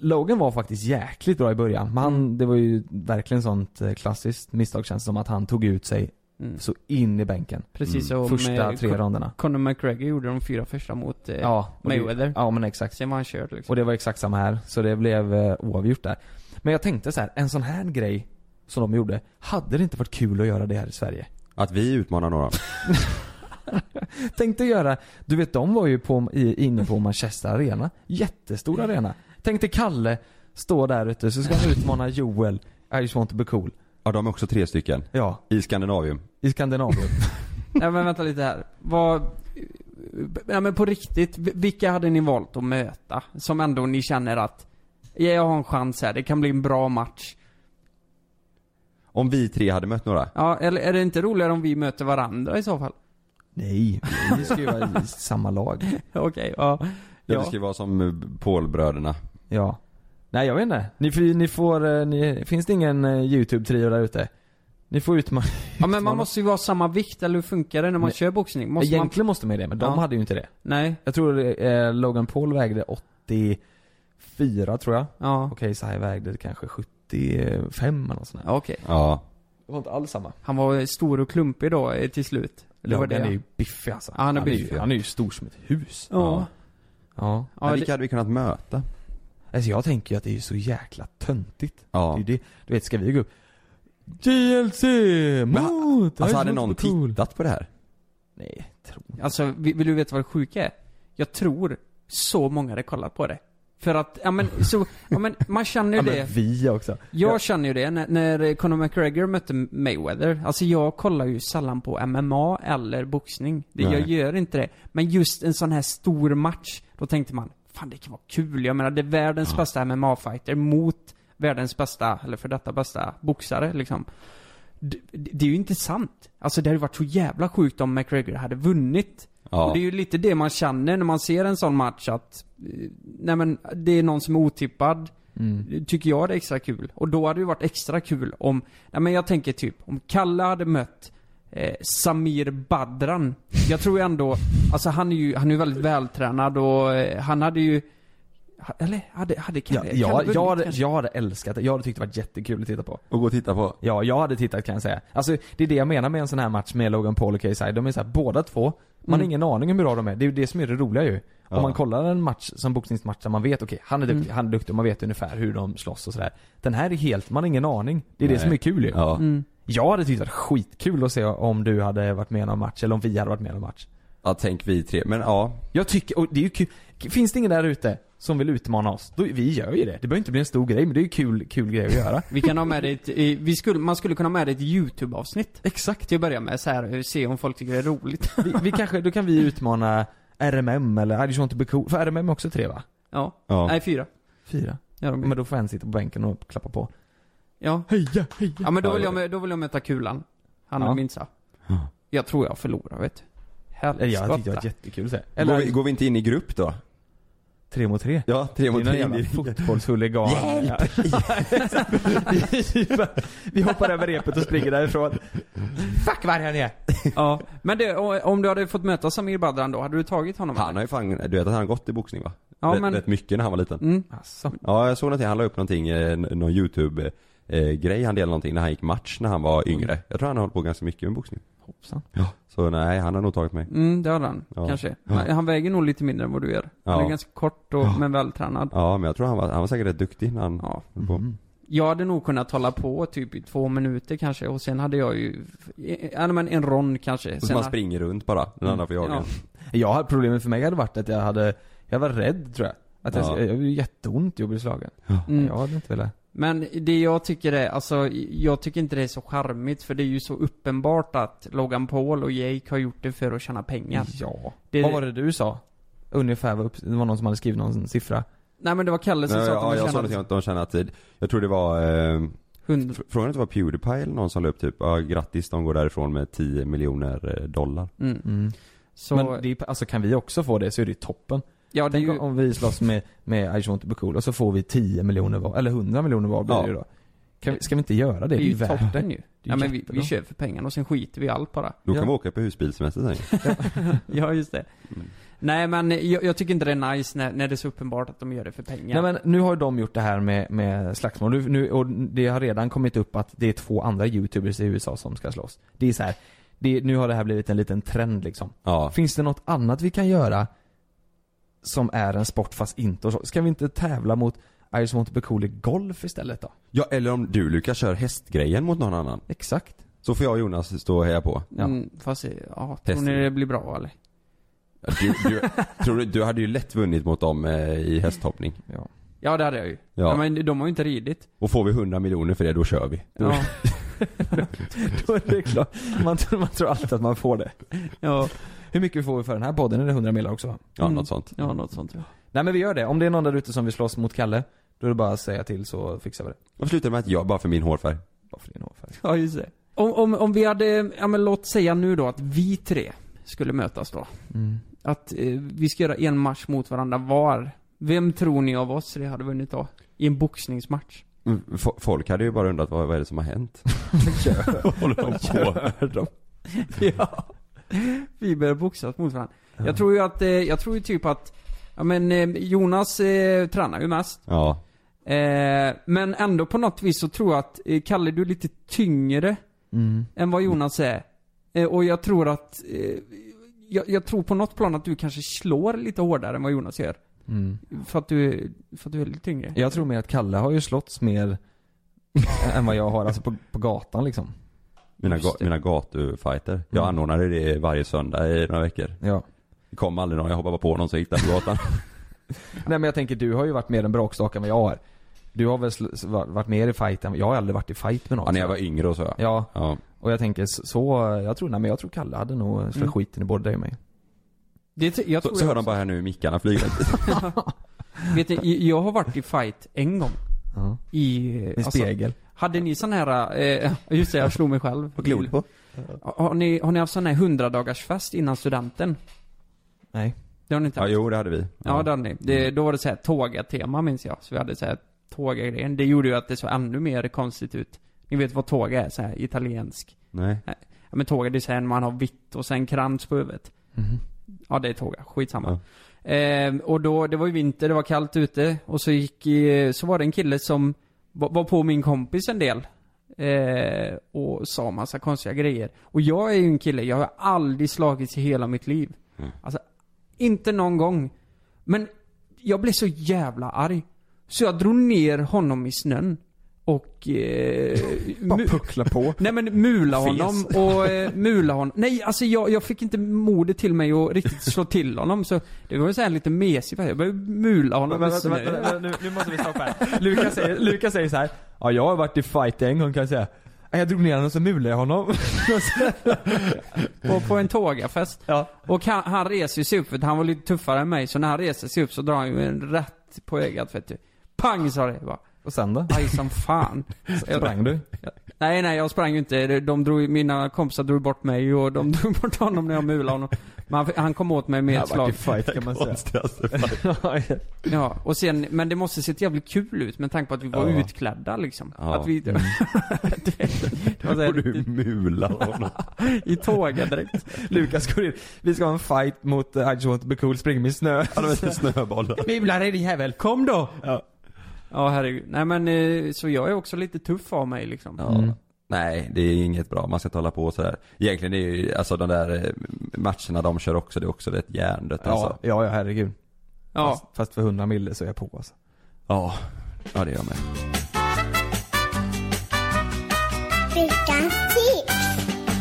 [SPEAKER 7] Logan var faktiskt jäkligt bra i början. Men
[SPEAKER 9] Mm.
[SPEAKER 7] han, det var ju verkligen sånt eh, klassiskt misstag känns det som att han tog ut sig
[SPEAKER 9] Mm.
[SPEAKER 7] så in i bänken.
[SPEAKER 9] Precis
[SPEAKER 7] Mm.
[SPEAKER 9] som
[SPEAKER 7] Första
[SPEAKER 9] eh,
[SPEAKER 7] tre
[SPEAKER 9] Con-
[SPEAKER 7] ronderna.
[SPEAKER 9] Conor McGregor gjorde de fyra första mot eh,
[SPEAKER 7] Ja, och det-
[SPEAKER 9] Mayweather.
[SPEAKER 7] Ja men exakt.
[SPEAKER 9] Sen var han körd liksom.
[SPEAKER 7] Och det var exakt samma här, så det blev eh, oavgjort där. Men jag tänkte så här, en sån här grej som de gjorde, hade det inte varit kul att göra det här i Sverige?
[SPEAKER 8] Att vi utmanar några.
[SPEAKER 7] Tänkte göra, du vet de var ju på, i, inne på Manchester Arena. Jättestor
[SPEAKER 8] Mm.
[SPEAKER 7] arena. Tänkte Kalle stå där ute så ska han utmana Joel, I just want to be cool.
[SPEAKER 8] Ja, de är också tre stycken.
[SPEAKER 7] Ja.
[SPEAKER 8] I Skandinavium.
[SPEAKER 7] I Skandinavien.
[SPEAKER 9] Nej men vänta lite här. Vad... Ja men på riktigt, vi- vilka hade ni valt att möta? Som ändå ni känner att, ja, jag har en chans här, det kan bli en bra match.
[SPEAKER 8] Om vi tre hade mött några.
[SPEAKER 9] Ja, eller är det inte roligare om vi möter varandra i så fall?
[SPEAKER 7] Nej, vi ska ju vara i samma lag.
[SPEAKER 9] Okej, ja.
[SPEAKER 8] Ja.
[SPEAKER 9] Ja.
[SPEAKER 8] Det skulle vara som eh, Paulbröderna.
[SPEAKER 7] Ja. Nej jag vet inte. Ni, får- ni får, eh, ni, finns det ingen eh, YouTube-trio där ute? Ni får utmana
[SPEAKER 9] ja men man måste ju vara samma vikt, eller hur funkar det när man
[SPEAKER 7] Nej.
[SPEAKER 9] kör boxning? Måste man...
[SPEAKER 7] Egentligen måste man ju det, men de
[SPEAKER 9] Ja.
[SPEAKER 7] hade ju inte det.
[SPEAKER 9] Nej.
[SPEAKER 7] Jag tror eh, Logan Paul vägde 84 tror jag.
[SPEAKER 9] Ja.
[SPEAKER 7] Okej, så här vägde det kanske 75 eller något sånt där.
[SPEAKER 9] Okej.
[SPEAKER 8] Ja.
[SPEAKER 7] Det var inte alls samma.
[SPEAKER 9] Han var stor och klumpig då eh, till slut. Det var
[SPEAKER 7] Logan
[SPEAKER 9] det.
[SPEAKER 7] är ju biffig alltså.
[SPEAKER 9] Ja, han
[SPEAKER 7] ju-
[SPEAKER 9] är biffig.
[SPEAKER 7] Han är ju stor som ett hus.
[SPEAKER 9] Ja.
[SPEAKER 7] Ja.
[SPEAKER 9] Ja, Men vilka det-
[SPEAKER 8] hade vi kunnat möta?
[SPEAKER 7] Alltså jag tänker ju att det är ju så jäkla töntigt.
[SPEAKER 8] Ja.
[SPEAKER 7] Det är ju det. Du vet, ska vi gå upp JLC mot...
[SPEAKER 8] Alltså hade
[SPEAKER 7] Ice
[SPEAKER 8] någon
[SPEAKER 7] Mot Cool.
[SPEAKER 8] tittat på det här?
[SPEAKER 7] Nej, tror inte.
[SPEAKER 9] Alltså, vi- vill du veta vad det sjuka är? Jag tror så många hade kollat på det. För att, ja men så, ja men man känner ju
[SPEAKER 7] Ja,
[SPEAKER 9] det.
[SPEAKER 7] men vi också.
[SPEAKER 9] Jag känner ju det, när, när Conor McGregor mötte Mayweather, alltså jag kollar ju sällan på MMA eller boxning. Det, jag
[SPEAKER 7] Nej.
[SPEAKER 9] gör inte det. Men just en sån här stor match, då tänkte man, fan det kan vara kul. Jag menar, det är världens bästa MMA-fighter mot världens bästa, eller för detta bästa, boxare liksom. Det, det det är ju inte sant. Alltså det hade ju varit så jävla sjukt om McGregor hade vunnit.
[SPEAKER 8] Ja.
[SPEAKER 9] Och det är ju lite det man känner när man ser en sån match att, eh, nej men det är någon som är otippad.
[SPEAKER 7] Mm.
[SPEAKER 9] Tycker jag det är extra kul. Och då hade det varit extra kul om, nej men jag tänker typ, om Kalle hade mött eh, Samir Badran. Jag tror ändå, alltså han är ju, han är ju väldigt vältränad och eh, han hade ju, ha- eller hade, hade
[SPEAKER 7] Ja,
[SPEAKER 9] Kalle, Kalle
[SPEAKER 7] jag,
[SPEAKER 9] vunnit
[SPEAKER 7] jag, hade,
[SPEAKER 9] kanske?
[SPEAKER 7] jag hade älskat det. Jag hade tyckt det varit jättekul att titta på.
[SPEAKER 8] Och gå och titta på?
[SPEAKER 7] Ja, jag hade tittat kan jag säga. Alltså det är det jag menar med en sån här match med Logan Paul och KSI. De är så här, båda två, man har
[SPEAKER 9] Mm.
[SPEAKER 7] ingen aning om hur bra de är. Det är ju det som är det roliga ju. Om
[SPEAKER 8] Ja.
[SPEAKER 7] man kollar en match som boxningsmatch där man vet, okej han är duktig,
[SPEAKER 9] Mm.
[SPEAKER 7] han är duktig och man vet ungefär hur de slåss och sådär. Den här är helt, man har ingen aning. Det är det
[SPEAKER 8] Nej.
[SPEAKER 7] som är kul ju.
[SPEAKER 8] Ja.
[SPEAKER 9] Mm.
[SPEAKER 7] Jag hade tyckt det var skitkul att se om du hade varit med i någon match, eller om vi hade varit med i någon match.
[SPEAKER 8] Ja, tänk vi tre. Men ja.
[SPEAKER 7] Jag tycker, och det är ju kul. Finns det ingen där ute som vill utmana oss? Då, vi gör ju det. Det behöver inte bli en stor grej men det är ju kul, kul grej att göra.
[SPEAKER 9] Vi kan ha med det i ett, i, vi skulle, man skulle kunna ha med det i ett YouTube-avsnitt.
[SPEAKER 7] Exakt.
[SPEAKER 9] Till att börja med, så här, se om folk tycker det är roligt.
[SPEAKER 7] Vi, vi kanske, då kan vi utmana RMM eller I just want to be cool. För RMM är också tre va?
[SPEAKER 9] Ja.
[SPEAKER 7] Ja.
[SPEAKER 9] Nej, fyra.
[SPEAKER 7] Fyra?
[SPEAKER 9] Ja, de-
[SPEAKER 7] men då får en sitta på bänken och klappa på.
[SPEAKER 9] Ja.
[SPEAKER 7] Heja, heja.
[SPEAKER 9] Ja men då vill jag, mö- då vill jag möta Kulan. Han
[SPEAKER 7] Ja.
[SPEAKER 9] och Minsa. Jag tror jag förlorar vet du.
[SPEAKER 7] Eller jag tyckte det var
[SPEAKER 9] Helskotta.
[SPEAKER 7] jättekul att säga.
[SPEAKER 8] Eller... Går, vi, går vi inte in i grupp då?
[SPEAKER 7] Tre mot tre?
[SPEAKER 8] Ja, tre mot
[SPEAKER 7] Det är
[SPEAKER 8] tre.
[SPEAKER 7] någon jävla fotbollshuligan. vi hoppar över repet och springer därifrån. Fuck vad han är!
[SPEAKER 9] Ja. Men det, och- om du hade fått möta Samir Badran då, hade du tagit honom?
[SPEAKER 8] Han har ju fan, du vet att han har gått i boxning va?
[SPEAKER 9] Ja,
[SPEAKER 8] rätt,
[SPEAKER 9] men-
[SPEAKER 8] rätt mycket när han var liten.
[SPEAKER 9] Mm.
[SPEAKER 8] Ja, jag såg någonting, han la upp någonting, eh, n- någon youtube eh, grej han delade någonting när han gick match när han var yngre. Jag tror han har hållit på ganska mycket med boxning.
[SPEAKER 7] Hoppsan.
[SPEAKER 8] Ja. Så nej, han har nog tagit mig.
[SPEAKER 9] Mm, det hade han.
[SPEAKER 8] Ja.
[SPEAKER 9] Kanske.
[SPEAKER 8] Ja.
[SPEAKER 9] Men Han väger nog lite mindre än vad du gör. Han
[SPEAKER 8] Ja.
[SPEAKER 9] är ganska kort och, men vältränad.
[SPEAKER 8] Ja, men jag tror han var, han var säkert rätt duktig när han ja. på.
[SPEAKER 9] Jag hade nog kunnat hålla på typ i två minuter kanske och sen hade jag ju, ja men en rond kanske.
[SPEAKER 8] Och så
[SPEAKER 9] Sen
[SPEAKER 8] man springer runt bara, den andra får jaga
[SPEAKER 9] Ja.
[SPEAKER 8] en.
[SPEAKER 7] Jag hade, problemet för mig hade varit att jag hade, jag var rädd tror jag. Att jag,
[SPEAKER 8] Ja.
[SPEAKER 7] jag, blev jätteont i att bli slagen.
[SPEAKER 9] Mm.
[SPEAKER 7] Jag hade inte velat.
[SPEAKER 9] Men det jag tycker är, alltså jag tycker inte det är så charmigt för det är ju så uppenbart att Logan Paul och Jake har gjort det för att tjäna pengar.
[SPEAKER 7] Ja.
[SPEAKER 9] Det-
[SPEAKER 7] Vad var det du sa? Ungefär, vad upp, det var någon som hade skrivit någon siffra.
[SPEAKER 9] Nej men det var Kalle som
[SPEAKER 8] Nej,
[SPEAKER 9] sa
[SPEAKER 8] ja,
[SPEAKER 9] att
[SPEAKER 8] jag såg någonting
[SPEAKER 9] de tjänade...
[SPEAKER 8] att de känner att, eh, jag tror det var, eh,
[SPEAKER 9] Hund-
[SPEAKER 8] fr- frågan inte var Pewdiepie eller någon som la upp typ, ja grattis de går därifrån med 10 miljoner eh, dollar.
[SPEAKER 9] Mm. Så-
[SPEAKER 7] Men det, är- alltså kan vi också få det så är det ju toppen.
[SPEAKER 9] Ja, det är
[SPEAKER 7] Tänk
[SPEAKER 9] ju...
[SPEAKER 7] om vi slåss med, med I just want to be cool och så får vi 10 miljoner var, eller 100 miljoner var blir
[SPEAKER 9] Ja.
[SPEAKER 7] det ju då. Kan vi, ska vi inte göra det?
[SPEAKER 9] Det är ju
[SPEAKER 7] värt
[SPEAKER 9] toppen ju.
[SPEAKER 7] Det är
[SPEAKER 9] Ja men vi, vi
[SPEAKER 7] jättebra.
[SPEAKER 9] kör för pengarna och sen skiter vi i allt bara.
[SPEAKER 8] Då kan Mm.
[SPEAKER 9] ja.
[SPEAKER 8] vi åka på husbilsemester sen
[SPEAKER 9] ja just det. Nej men jag, jag tycker inte det är nice när, när det är så uppenbart att de gör det för pengar.
[SPEAKER 7] Nej men nu har ju de gjort det här med, med slagsmål. Nu, nu, och det har redan kommit upp att det är två andra youtubers i USA som ska slåss. Det är så här, det, nu har det här blivit en liten trend liksom. Finns det något annat vi kan göra som är en sport fast inte och så? Ska vi inte tävla mot I just want to be cool i golf istället då?
[SPEAKER 8] Ja, eller om du Lukas kör hästgrejen mot någon annan.
[SPEAKER 7] Exakt.
[SPEAKER 8] Så får jag och Jonas stå och heja på.
[SPEAKER 9] Mm, fast, ja, tror
[SPEAKER 8] Testar
[SPEAKER 9] ni det blir bra eller?
[SPEAKER 8] Ja, Du, du, tror du, du hade ju lätt vunnit mot dem eh, i hästhoppning.
[SPEAKER 7] Ja.
[SPEAKER 9] Ja det hade jag ju. Ja.
[SPEAKER 8] Ja.
[SPEAKER 9] men de har ju inte ridit.
[SPEAKER 8] Och får vi 100 miljoner för det, då kör vi. Då,
[SPEAKER 9] Ja.
[SPEAKER 7] Då är det klart. Man tror, man tror alltid att man får det.
[SPEAKER 9] Ja.
[SPEAKER 7] Hur mycket får vi för den här podden? Är det 100 miljoner också?
[SPEAKER 8] Ja, något sånt.
[SPEAKER 9] Mm. Ja, något sånt ja.
[SPEAKER 7] Nej men vi gör det. Om det är någon där ute som vill slåss mot Kalle, då är det bara att säga till så fixar vi det.
[SPEAKER 8] Varför slutar det med att jag, bara för min hårfärg?
[SPEAKER 7] Bara för din hårfärg.
[SPEAKER 9] Ja, just det. Om, om, om vi hade, ja men låt säga nu då att vi tre skulle mötas då.
[SPEAKER 7] Mm.
[SPEAKER 9] Att eh, vi ska göra en match mot varandra var. Vem tror ni av oss det hade vunnit då? I en boxningsmatch?
[SPEAKER 8] Mm, fo- Folk hade ju bara undrat vad, vad är det som har hänt? Vad håller de på?
[SPEAKER 9] ja. Vi börjar boxas mot varandra. Jag tror ju att, eh, jag tror ju typ att, ja men eh, Jonas eh, tränar ju mest.
[SPEAKER 8] Ja.
[SPEAKER 9] Eh, men ändå på något vis så tror jag att, eh, Kalle du är lite tyngre
[SPEAKER 7] Mm.
[SPEAKER 9] än vad Jonas är. Eh, och jag tror att, eh, jag, jag tror på något plan att du kanske slår lite hårdare än vad Jonas gör.
[SPEAKER 7] Mm.
[SPEAKER 9] För att du, för att du är lite tyngre.
[SPEAKER 7] Jag tror mer att Kalle har ju slåtts mer än vad jag har, alltså på, på gatan liksom.
[SPEAKER 8] Mina,
[SPEAKER 7] Just
[SPEAKER 8] ga,
[SPEAKER 7] det.
[SPEAKER 8] mina gatufighter. Jag
[SPEAKER 7] Mm.
[SPEAKER 8] anordnade det varje söndag i några veckor.
[SPEAKER 7] Ja.
[SPEAKER 8] Det kom aldrig någon, jag hoppade bara på någon som gick där på gatan.
[SPEAKER 7] Nej men jag tänker, du har ju varit mer en bråkstake än vad jag är. Du har väl sl- va- varit mer i fight än, jag har aldrig varit i fight med någon.
[SPEAKER 8] ja, när jag var yngre och så ja.
[SPEAKER 7] Ja.
[SPEAKER 8] ja.
[SPEAKER 7] Och jag tänker så- så, jag tror, nej men jag tror Kalle hade nog slagit
[SPEAKER 9] Mm.
[SPEAKER 7] skiten i både dig och mig.
[SPEAKER 9] Det, t- jag
[SPEAKER 8] Så,
[SPEAKER 9] tror
[SPEAKER 8] så
[SPEAKER 9] jag
[SPEAKER 8] hör de
[SPEAKER 9] också.
[SPEAKER 8] bara här nu hur mickarna flyger.
[SPEAKER 9] Vet ni, jag har varit i fight en gång.
[SPEAKER 7] Ja.
[SPEAKER 9] I... eh,
[SPEAKER 8] Alltså,
[SPEAKER 7] I spegel.
[SPEAKER 9] hade ni sån här, eh, just det jag slog mig själv.
[SPEAKER 8] Vad glor du på?
[SPEAKER 9] Har ni, har ni haft sån här hundradagarsfest innan studenten?
[SPEAKER 7] Nej.
[SPEAKER 9] Det har ni inte
[SPEAKER 8] Ja, Mm.
[SPEAKER 9] haft?
[SPEAKER 8] jo det hade vi.
[SPEAKER 9] Ja, det hade ni. Det, då var det så här tåga-tema minns jag. Så vi hade så här tåga-grejen. Det gjorde ju att det såg ännu mer konstigt ut. Ni vet vad tåga är? Så här italiensk.
[SPEAKER 8] Nej.
[SPEAKER 9] Ja, men tåga det är så här när man har vitt och sen krans på huvudet.
[SPEAKER 7] Mhm.
[SPEAKER 9] Ja det är tåga, skitsamma. Ehm, och då, det var ju vinter, det var kallt ute och så gick, eh, så var det en kille som var, var på min kompis en del. Eh, och sa massa konstiga grejer. Och jag är ju en kille, jag har aldrig slagits i hela mitt liv.
[SPEAKER 7] Mm.
[SPEAKER 9] Alltså, inte någon gång. Men jag blev så jävla arg. Så jag drog ner honom i snön. och... Eh,
[SPEAKER 7] Bara puckla på.
[SPEAKER 9] Nej men mula
[SPEAKER 7] Fes.
[SPEAKER 9] honom och eh, mula honom. Nej alltså jag, jag fick inte modet till mig att riktigt slå till honom så det var ju såhär lite mesig Jag började mula honom.
[SPEAKER 7] Vänta, vänta, vänta, nu, nu måste vi stoppa här. Lukas säger, Lukas säger så här. Ja, jag har varit i fight en gång kan jag säga. Jag drog ner honom och så mulade jag honom.
[SPEAKER 9] på, på en tågafest. Och han, han reser sig upp för att han var lite tuffare än mig så när han reser sig upp så drar han ju en rätt på ögat vet du. Pang sa det bara.
[SPEAKER 7] Och sen då?
[SPEAKER 9] Aj som fan.
[SPEAKER 7] Sprang du?
[SPEAKER 9] Nej nej jag sprang ju inte. De- De drog, mina kompisar drog bort mig och de drog bort honom när jag mulade honom. Men han, han kom åt mig med ett
[SPEAKER 7] Det har varit
[SPEAKER 9] slag.
[SPEAKER 7] i fight, kan man säga. Konstigaste
[SPEAKER 9] ja, och sen, men det måste sett jävligt kul ut med tanke på att vi var
[SPEAKER 8] Ja.
[SPEAKER 9] utklädda liksom.
[SPEAKER 8] Ja.
[SPEAKER 9] Att vi...
[SPEAKER 8] Mm.
[SPEAKER 9] det var så här
[SPEAKER 8] Och du
[SPEAKER 9] riktigt-
[SPEAKER 8] mular honom.
[SPEAKER 9] I tåget direkt.
[SPEAKER 7] Lukas går in. Vi ska ha en fight mot uh, I just want to be cool, spring med snö. Ja,
[SPEAKER 8] det var snöbollar.
[SPEAKER 9] Mula dig din jävel, kom då! Ja. Ja herregud. Nej men eh, så jag är också lite tuff av mig liksom.
[SPEAKER 8] Ja. Nej, det är inget bra. Man ska inte hålla på sådär. Egentligen är ju, alltså de där eh, matcherna de kör också, det är också rätt hjärndött
[SPEAKER 7] Ja,
[SPEAKER 8] alltså.
[SPEAKER 7] ja, ja herregud.
[SPEAKER 9] Ja.
[SPEAKER 7] Fast, fast för 100 mille så är jag på alltså.
[SPEAKER 8] Ja, ja det gör jag med.
[SPEAKER 11] Veckans tips.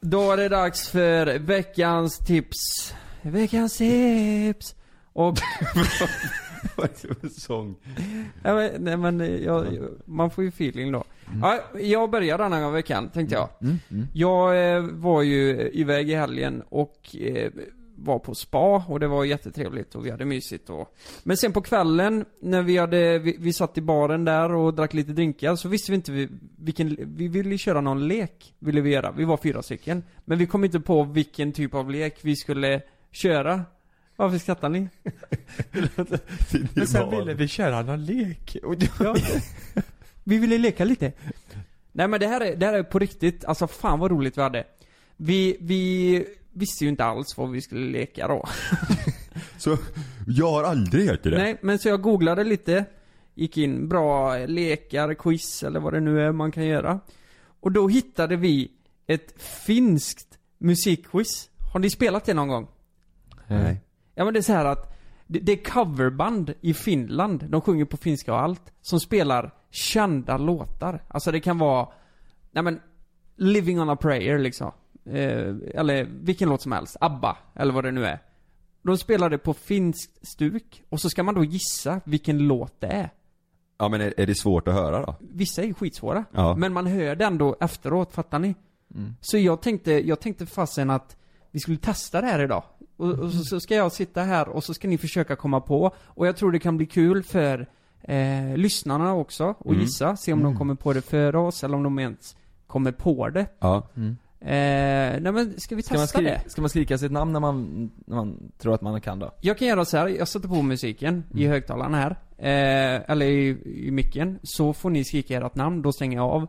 [SPEAKER 9] Då är det dags för veckans tips. Veckans tips. Och...
[SPEAKER 8] Vad är det för sång?
[SPEAKER 9] Nej men, nej, men eh, jag, man får ju feeling då. Ja, jag börjar den här veckan tänkte jag. Jag eh, var ju iväg i helgen och eh, var på spa och det var jättetrevligt och vi hade mysigt och Men sen på kvällen när vi hade, vi, vi satt i baren där och drack lite drinkar så visste vi inte vi- vilken, vi ville köra någon lek ville vi göra, vi var fyra stycken Men vi kom inte på vilken typ av lek vi skulle köra Varför skrattar ni?
[SPEAKER 7] Men sen ville vi köra någon lek. Och
[SPEAKER 9] Ja. Vi ville leka lite. Nej men det här är, det här är på riktigt, alltså fan vad roligt vi hade. Vi, vi visste ju inte alls vad vi skulle leka då.
[SPEAKER 8] Så, jag har aldrig hört det där.
[SPEAKER 9] Nej, men så jag googlade lite. Gick in bra lekar, quiz eller vad det nu är man kan göra. Och då hittade vi ett finskt musikquiz. Har ni spelat det någon gång?
[SPEAKER 8] Nej.
[SPEAKER 9] Ja men det är så här att det, det är coverband i Finland, de sjunger på finska och allt, som spelar kända låtar. Alltså det kan vara, nej men, Living on a prayer liksom. Eh, eller vilken låt som helst, ABBA, eller vad det nu är. De spelar det på finskt stuk, och så ska man då gissa vilken låt det är.
[SPEAKER 8] Ja men är, är det svårt att höra då?
[SPEAKER 9] Vissa är ju skitsvåra.
[SPEAKER 8] Ja.
[SPEAKER 9] Men man hör det ändå efteråt, fattar ni?
[SPEAKER 8] Mm.
[SPEAKER 9] Så jag tänkte, jag tänkte fasen att vi skulle testa det här idag. Och, och så, så ska jag sitta här och så ska ni försöka komma på. Och jag tror det kan bli kul för eh, lyssnarna också och
[SPEAKER 8] Mm.
[SPEAKER 9] gissa. Se om de kommer på det före oss eller om de ens kommer på det.
[SPEAKER 8] Ja.
[SPEAKER 9] Eh, nej men ska vi
[SPEAKER 7] Ska man,
[SPEAKER 9] testa det?
[SPEAKER 7] skri- ska man skrika sitt namn när man, när man tror att man kan då?
[SPEAKER 9] Jag kan göra så här, jag sätter på musiken i
[SPEAKER 7] Mm.
[SPEAKER 9] högtalarna här. Eh, eller i, i micken. Så får ni skrika ert namn, då stänger jag av.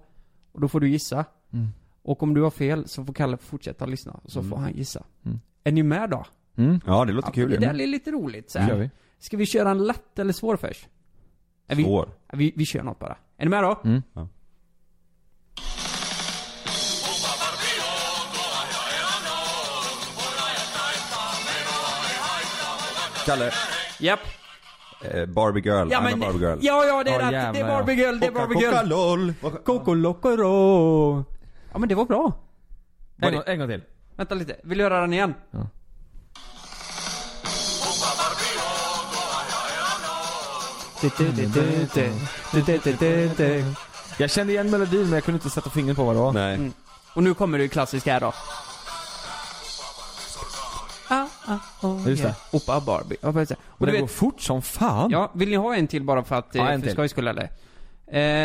[SPEAKER 9] Och då får du gissa.
[SPEAKER 7] Mm.
[SPEAKER 9] Och om du har fel så får Kalle fortsätta lyssna. Och så får han gissa.
[SPEAKER 7] Mm.
[SPEAKER 9] Är ni med då?
[SPEAKER 8] Ja det låter kul
[SPEAKER 9] Det
[SPEAKER 8] ju.
[SPEAKER 9] där är lite roligt så här.
[SPEAKER 8] Det gör vi.
[SPEAKER 9] Ska vi köra en lätt eller svår först? Är vi,
[SPEAKER 8] Svår.
[SPEAKER 9] Är vi, vi kör något bara. Är ni med då?
[SPEAKER 7] Mm.
[SPEAKER 8] Ja. Kalle.
[SPEAKER 9] Japp.
[SPEAKER 8] Eh, Barbie girl, I'm a Barbie girl.
[SPEAKER 9] Ja, ja det är
[SPEAKER 8] Ja,
[SPEAKER 9] rätt. det
[SPEAKER 8] jävlar, ja.
[SPEAKER 9] är Barbie girl, det är
[SPEAKER 8] Coca-
[SPEAKER 9] Barbie girl.
[SPEAKER 8] Coca-Lol.
[SPEAKER 9] Coco Loco Roll. Ja men det var bra.
[SPEAKER 7] En gång, en gång till.
[SPEAKER 9] Vänta lite, vill du göra den igen?
[SPEAKER 7] Ja. Jag kände igen melodin men jag kunde inte sätta fingret på vad det var.
[SPEAKER 8] Nej.
[SPEAKER 9] Och nu kommer det klassiska här då. Ah, ah, oh,
[SPEAKER 7] Just
[SPEAKER 9] yeah.
[SPEAKER 7] det.
[SPEAKER 9] Opa Barbie. Ja, precis.
[SPEAKER 7] Och det
[SPEAKER 9] du
[SPEAKER 7] går fort som fan.
[SPEAKER 9] Ja, vill ni ha en till bara för att, eh,
[SPEAKER 7] Ja, en
[SPEAKER 9] för
[SPEAKER 7] till.
[SPEAKER 9] skojs skull eller?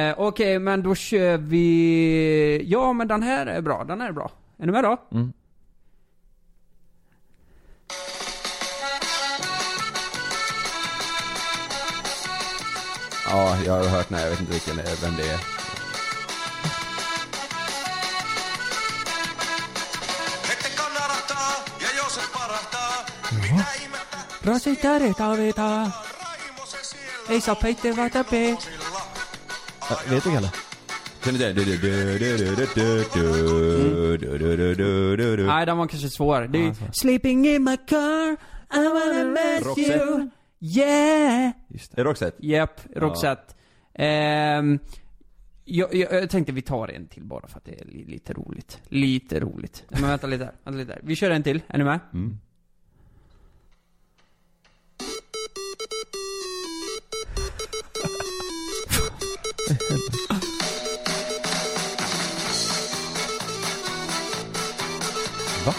[SPEAKER 9] Eh, Okej, men då kör vi... Ja, men den här är bra, den här är bra. Är ni med då?
[SPEAKER 7] Mm.
[SPEAKER 8] Ja, jag har hört den här, jag vet inte vilken, det är, vem det är.
[SPEAKER 9] Rasita reta veta. Eisa peite vata pe.
[SPEAKER 7] vet du Kalle?
[SPEAKER 8] Känner du inte det?
[SPEAKER 9] Nej, den var kanske svår. Det är ju... Sleeping in my car, I wanna miss
[SPEAKER 8] Roxette.
[SPEAKER 9] you. Yeah.
[SPEAKER 8] Är det Roxette?
[SPEAKER 9] Japp, Roxette. Ehm, jag, jag, jag tänkte vi tar en till bara för att det är li- lite roligt. Lite roligt. Men vänta lite här, vänta lite här. Vi kör en till, är ni med?
[SPEAKER 8] Mm.
[SPEAKER 9] Va?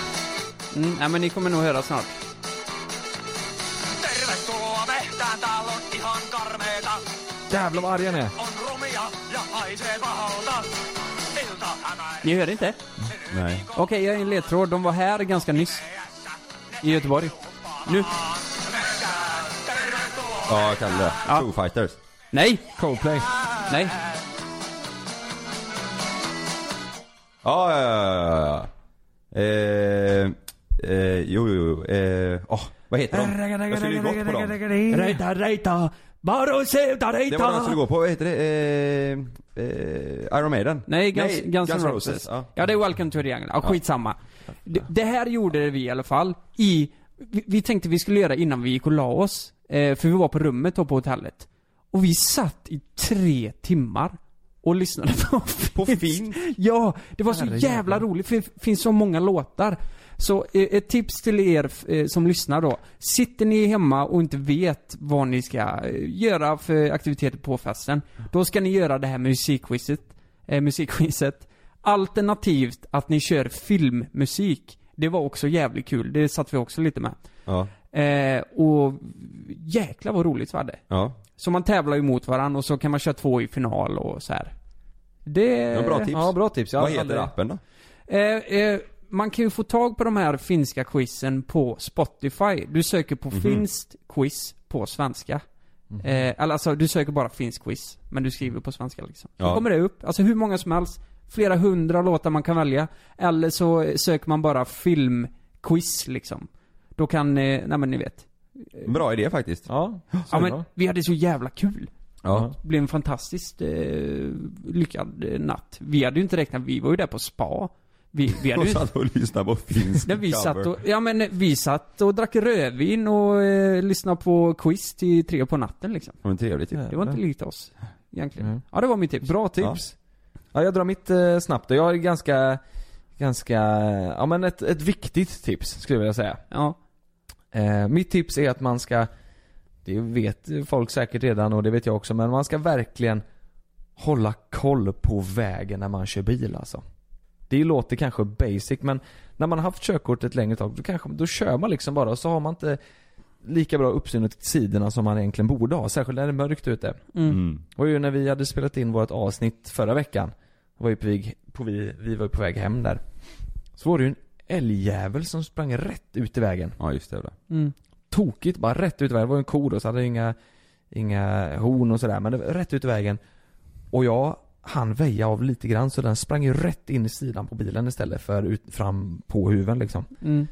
[SPEAKER 9] Mm, nej men ni kommer nog höra snart.
[SPEAKER 11] Tervetuloa mehtään, täällä on ihan karmeeta.
[SPEAKER 7] Jävlar vad arg han är.
[SPEAKER 11] On rumia ja haisee pahalta. Ilta hämää.
[SPEAKER 9] Ni hör inte?
[SPEAKER 8] Nej.
[SPEAKER 9] Okej, jag är en ledtråd. De var här ganska nyss. I Göteborg. Nu.
[SPEAKER 8] Ja, Kalle. Foo Fighters.
[SPEAKER 9] Nej!
[SPEAKER 7] Coldplay.
[SPEAKER 9] Nej.
[SPEAKER 8] Ja, ja, ja, ja. Eh, eh, jo, jo, jo. Eh, åh, vad heter de? Jag skulle ju gått på dem.
[SPEAKER 12] Rejta, rejta. Baroseuta,
[SPEAKER 8] Det var de jag
[SPEAKER 12] rejta.
[SPEAKER 8] skulle gå på. Vad heter det? Eh, eh, Iron Maiden?
[SPEAKER 9] Nej, Guns, Guns, N' Roses.
[SPEAKER 8] Ja.
[SPEAKER 9] Ja. det är Welcome to the Jungle. Ja,
[SPEAKER 8] Ja.
[SPEAKER 9] skitsamma. Det, det här gjorde vi i alla fall i... Vi, vi tänkte vi skulle göra innan vi gick och la oss. Eh, för vi var på rummet då på hotellet. Och vi satt i tre timmar och lyssnade på
[SPEAKER 8] På Finns?
[SPEAKER 9] Ja, det var så
[SPEAKER 8] Herrejävlar.
[SPEAKER 9] jävla roligt för det finns så många låtar. Så eh, ett tips till er f- eh, som lyssnar då. Sitter ni hemma och inte vet vad ni ska eh, göra för aktiviteter på festen. Då ska ni göra det här musikquizet. Eh, musikquizet. Alternativt att ni kör filmmusik. Det var också jävligt kul. Det satt vi också lite med.
[SPEAKER 8] Ja.
[SPEAKER 9] Eh, och jäklar vad roligt vi hade.
[SPEAKER 8] Ja.
[SPEAKER 9] Så man tävlar ju mot varandra och så kan man köra två i final och så här. Det...
[SPEAKER 8] Det var bra tips.
[SPEAKER 9] Ja, bra tips. Jag
[SPEAKER 8] Vad
[SPEAKER 9] hade
[SPEAKER 8] heter appen
[SPEAKER 9] aldrig-
[SPEAKER 8] då?
[SPEAKER 9] Eh, eh, man kan ju få tag på de här finska quizen på Spotify. Du söker på
[SPEAKER 8] Mhm.
[SPEAKER 9] finskt quiz på svenska.
[SPEAKER 8] Mhm.
[SPEAKER 9] Eh, eller alltså, du söker bara finsk quiz, men du skriver på svenska liksom. Så
[SPEAKER 8] Ja.
[SPEAKER 9] kommer det upp, alltså hur många som helst. Flera hundra låtar man kan välja. Eller så eh, söker man bara filmquiz liksom. Då kan, eh, nej men ni vet.
[SPEAKER 8] Bra idé faktiskt.
[SPEAKER 7] Ja.
[SPEAKER 9] Ja men vi hade så jävla kul.
[SPEAKER 8] Ja.
[SPEAKER 9] Det blev en fantastiskt eh, lyckad eh, natt. Vi hade ju inte räknat, vi var ju där på spa. Vi, vi hade
[SPEAKER 8] Och
[SPEAKER 9] ju
[SPEAKER 8] satt och lyssnade på finsk
[SPEAKER 9] när vi
[SPEAKER 8] cover.
[SPEAKER 9] satt och, ja men eh, vi satt och drack rödvin och eh, lyssnade på quiz till tre på natten liksom.
[SPEAKER 8] Ja, men trevligt ju.
[SPEAKER 9] Det var inte likt oss, egentligen.
[SPEAKER 7] Mm.
[SPEAKER 9] Ja det var mitt tips.
[SPEAKER 7] Bra tips. Ja. jag drar mitt eh, snabbt och jag har ganska, ganska, ja men ett, ett viktigt tips skulle jag vilja säga.
[SPEAKER 9] Ja.
[SPEAKER 7] Eh, mitt tips är att man ska, det vet folk säkert redan och det vet jag också, men man ska verkligen hålla koll på vägen när man kör bil alltså. Det låter kanske basic men när man har haft körkort ett längre tag då kanske, då kör man liksom bara och så har man inte lika bra uppsyn åt sidorna som man egentligen borde ha. Särskilt när det är mörkt ute.
[SPEAKER 9] Mm.
[SPEAKER 7] Det var ju när vi hade spelat in vårt avsnitt förra veckan. Då var ju på väg, på vi, vi var ju på väg hem där. Så var det ju en älgjävel som sprang rätt ut i vägen.
[SPEAKER 8] Ja, just det.
[SPEAKER 9] Mm.
[SPEAKER 7] Tokigt, bara rätt ut i vägen. Det var ju en ko då, så hade det inga, inga horn och sådär. Men det var rätt ut i vägen. Och jag han väja av lite grann så den sprang ju rätt in i sidan på bilen istället för ut, fram på huven liksom.
[SPEAKER 9] Mm.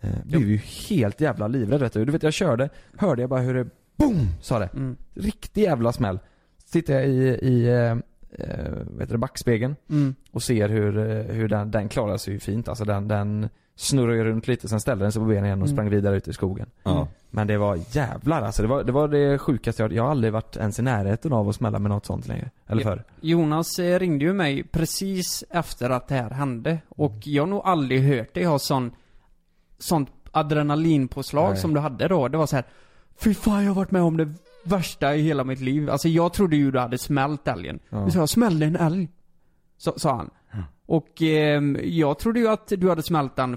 [SPEAKER 7] Eh, blev ju helt jävla livrädd vet du. Du vet jag körde, hörde jag bara hur det BOOM! Sa det. Riktig jävla smäll. Så tittar jag i, i eh, eh, vad heter det, backspegeln
[SPEAKER 9] Mm.
[SPEAKER 7] och ser hur, eh, hur den, den klarar sig ju fint. Alltså den, den snurrar ju runt lite, sen ställde den sig på benen igen och
[SPEAKER 9] Mm.
[SPEAKER 7] sprang vidare ut i skogen.
[SPEAKER 8] Ja.
[SPEAKER 7] Men det var jävlar alltså. Det var det, var det sjukaste jag, jag har aldrig varit ens i närheten av att smälla med något sånt längre. Eller förr.
[SPEAKER 9] Jonas eh, ringde ju mig precis efter att det här hände. Och jag har nog aldrig hört dig ha sån, sånt adrenalinpåslag
[SPEAKER 7] Nej.
[SPEAKER 9] som du hade då. Det var så här. Fy fan jag har varit med om det värsta i hela mitt liv. Alltså jag trodde ju du hade smält älgen.
[SPEAKER 7] Ja.
[SPEAKER 9] Du sa jag smällde en älg. Sa, sa han. Och ehm, jag trodde ju att du hade smält den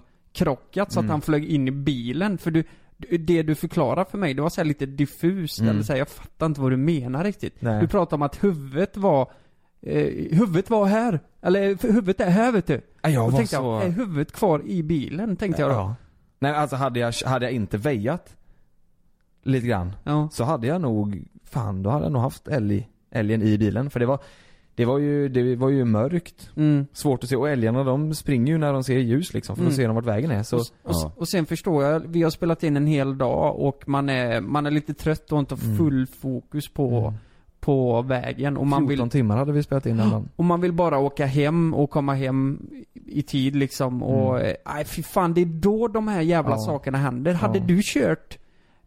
[SPEAKER 9] frontalkrockat så att
[SPEAKER 7] Mm.
[SPEAKER 9] han flög in i bilen. För du, du- det du förklarar för mig, det var så här lite diffust.
[SPEAKER 7] Mm.
[SPEAKER 9] Eller så här, jag fattar inte vad du menar riktigt.
[SPEAKER 7] Nej.
[SPEAKER 9] Du pratade om att huvudet var eh, Huvudet var här. Eller för huvudet är här vet du.
[SPEAKER 7] Ja, jag
[SPEAKER 9] Och
[SPEAKER 7] var
[SPEAKER 9] tänkte
[SPEAKER 7] så-
[SPEAKER 9] jag, är huvudet kvar i bilen? Tänkte jag då.
[SPEAKER 7] Ja. Nej alltså hade jag, hade jag inte väjat lite grann så hade jag nog, fan då hade jag nog haft älg, älgen i bilen för det var det var ju, det var ju mörkt. Svårt att se. Och älgarna de springer ju när de ser ljus liksom. För då
[SPEAKER 9] Mm.
[SPEAKER 7] ser de vart vägen är. Så,
[SPEAKER 9] Och, s- och, s- och sen förstår jag, vi har spelat in en hel dag och man är, man är lite trött och inte
[SPEAKER 7] Mm.
[SPEAKER 9] har full fokus på, på vägen. Och
[SPEAKER 7] 14
[SPEAKER 9] man vill,
[SPEAKER 7] timmar hade vi spelat in den dagen.
[SPEAKER 9] och man vill bara åka hem och komma hem i tid liksom. Och
[SPEAKER 7] Mm.
[SPEAKER 9] eh, nej fy fan, det är då de här jävla
[SPEAKER 7] Ja.
[SPEAKER 9] sakerna händer. Hade
[SPEAKER 7] Ja.
[SPEAKER 9] du kört,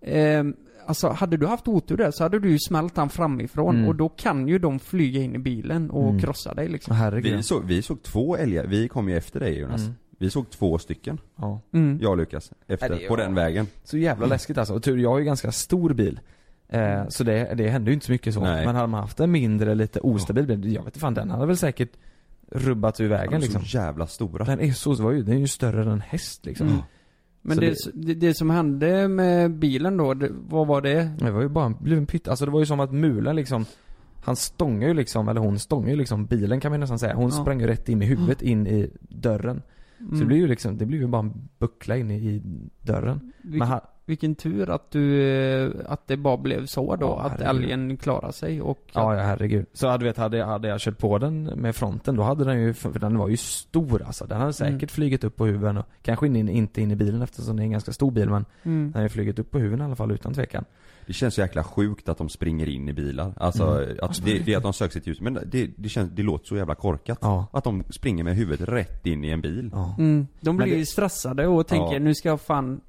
[SPEAKER 9] eh, alltså hade du haft otur där så hade du ju smält han framifrån
[SPEAKER 8] Mm.
[SPEAKER 9] och då kan ju de flyga in i bilen och
[SPEAKER 8] Mm.
[SPEAKER 9] krossa dig liksom.
[SPEAKER 8] Vi såg, vi såg två älgar, vi kom ju efter dig Jonas.
[SPEAKER 7] Mm.
[SPEAKER 8] Vi såg två stycken.
[SPEAKER 7] Ja.
[SPEAKER 9] Mm.
[SPEAKER 8] Jag och Lukas, efter,
[SPEAKER 7] Nej, det är-
[SPEAKER 8] på den vägen.
[SPEAKER 7] Så jävla läskigt alltså. Och tur, jag har ju ganska stor bil. Eh, så det, det hände ju inte så mycket så.
[SPEAKER 8] Nej.
[SPEAKER 7] Men hade man haft en mindre, lite ostabil bil, jag vet inte fan den hade väl säkert rubbat ur vägen
[SPEAKER 8] De är så
[SPEAKER 7] liksom.
[SPEAKER 8] jävla stora.
[SPEAKER 7] Den är så, var ju, den är ju större än en häst liksom.
[SPEAKER 9] Mm. Men
[SPEAKER 7] Så
[SPEAKER 9] det, det, det som hände med bilen då, det, vad var det?
[SPEAKER 7] Det var ju bara en, blev en pytt, alltså det var ju som att mulen liksom han stångar ju liksom, eller hon stångar ju liksom bilen kan man nästan säga. Hon
[SPEAKER 9] Ja.
[SPEAKER 7] sprang ju rätt in i huvudet in i dörren. Så det
[SPEAKER 9] Mm.
[SPEAKER 7] blir ju liksom, det blir ju bara en buckla in i- i dörren.
[SPEAKER 9] Vilken,
[SPEAKER 7] ha-
[SPEAKER 9] vilken tur att du, eh, att det bara blev så då, att
[SPEAKER 7] herregud.
[SPEAKER 9] älgen klarade sig och
[SPEAKER 7] Ja, ja herregud. Så hade, vet, hade, jag- hade jag kört på den med fronten, då hade den ju, för den var ju stor alltså. Den hade säkert
[SPEAKER 9] Mm.
[SPEAKER 7] flugit upp på huven och kanske in, in, inte in i bilen eftersom det är en ganska stor bil men
[SPEAKER 9] Mm.
[SPEAKER 7] den hade ju flugit upp på huven i alla fall utan tvekan.
[SPEAKER 8] Det känns så jäkla sjukt att de springer in i bilar. Alltså,
[SPEAKER 7] Mm.
[SPEAKER 8] att det, det är att de söker sitt ljus. Men det, det, känns, det låter så jävla korkat. Att de springer med huvudet rätt in i en bil.
[SPEAKER 9] Mm. De
[SPEAKER 7] Men
[SPEAKER 9] blir
[SPEAKER 7] det-
[SPEAKER 9] ju stressade och tänker
[SPEAKER 7] Ja.
[SPEAKER 9] nu ska jag fan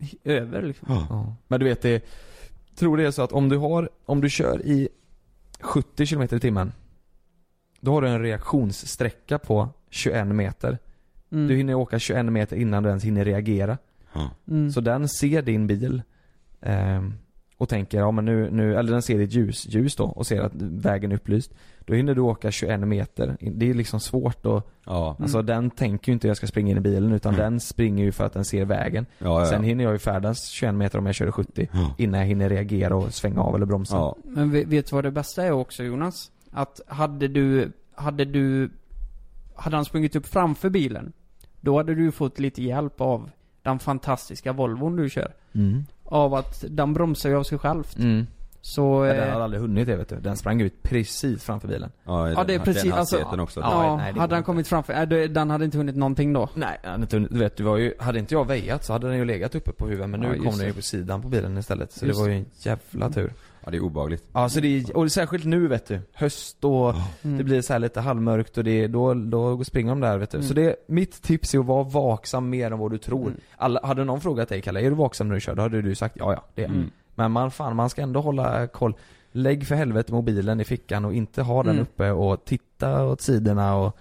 [SPEAKER 9] h- över liksom.
[SPEAKER 7] Ja. Men du vet det, tror det är så att om du har, om du kör i 70 km i timmen Då har du en reaktionssträcka på 21 meter.
[SPEAKER 9] Mm.
[SPEAKER 7] Du hinner åka 21 meter innan du ens hinner reagera.
[SPEAKER 9] Mm.
[SPEAKER 7] Så den ser din bil ehm, och tänker, ja men nu, nu, eller den ser ditt ljus, ljus då och ser att vägen är upplyst. Då hinner du åka 21 meter. Det är liksom svårt att, alltså
[SPEAKER 8] Mm.
[SPEAKER 7] den tänker ju inte jag ska springa in i bilen utan den springer ju för att den ser vägen.
[SPEAKER 8] Ja, ja, ja.
[SPEAKER 7] Sen hinner jag ju färdas 21 meter om jag kör i 70 innan jag hinner reagera och svänga av eller bromsa.
[SPEAKER 9] Men ve- vet du vad det bästa är också Jonas? Att hade du, hade du, hade han sprungit upp framför bilen, då hade du fått lite hjälp av den fantastiska Volvon du kör.
[SPEAKER 7] Mm.
[SPEAKER 9] Av att den bromsar ju av sig självt.
[SPEAKER 7] Mm.
[SPEAKER 9] Så...
[SPEAKER 7] Men
[SPEAKER 9] eh,
[SPEAKER 7] den hade aldrig hunnit det vet du. Den sprang ut precis framför bilen.
[SPEAKER 9] Ja det är precis, alltså, ja, hade han kommit framför, nej, det- den hade inte hunnit någonting då.
[SPEAKER 7] Nej, han hade inte hunnit- du vet, det var ju, hade inte jag väjat så hade den ju legat uppe på huvudet men nu
[SPEAKER 9] Ja, just
[SPEAKER 7] kom den
[SPEAKER 9] det.
[SPEAKER 7] ju på sidan på bilen istället. Så
[SPEAKER 9] Just
[SPEAKER 7] det var ju
[SPEAKER 9] det.
[SPEAKER 7] en jävla tur.
[SPEAKER 8] Ja, det är obehagligt.
[SPEAKER 7] Ja, så det är, och särskilt nu vet du. Höst och
[SPEAKER 9] Mm.
[SPEAKER 7] det blir så här lite halvmörkt och det, är- då, då springer de där vet du.
[SPEAKER 8] Mm.
[SPEAKER 7] Så det, mitt tips är att vara vaksam mer än vad du tror.
[SPEAKER 9] Mm.
[SPEAKER 7] Alla, hade någon frågat dig Kalle, är du vaksam när du kör? Då hade du sagt ja, ja, det är jag."
[SPEAKER 8] Mm.
[SPEAKER 7] Men man, fan, man ska ändå hålla koll. Lägg för helvete mobilen i fickan och inte ha den
[SPEAKER 8] Mm.
[SPEAKER 7] uppe och titta åt sidorna och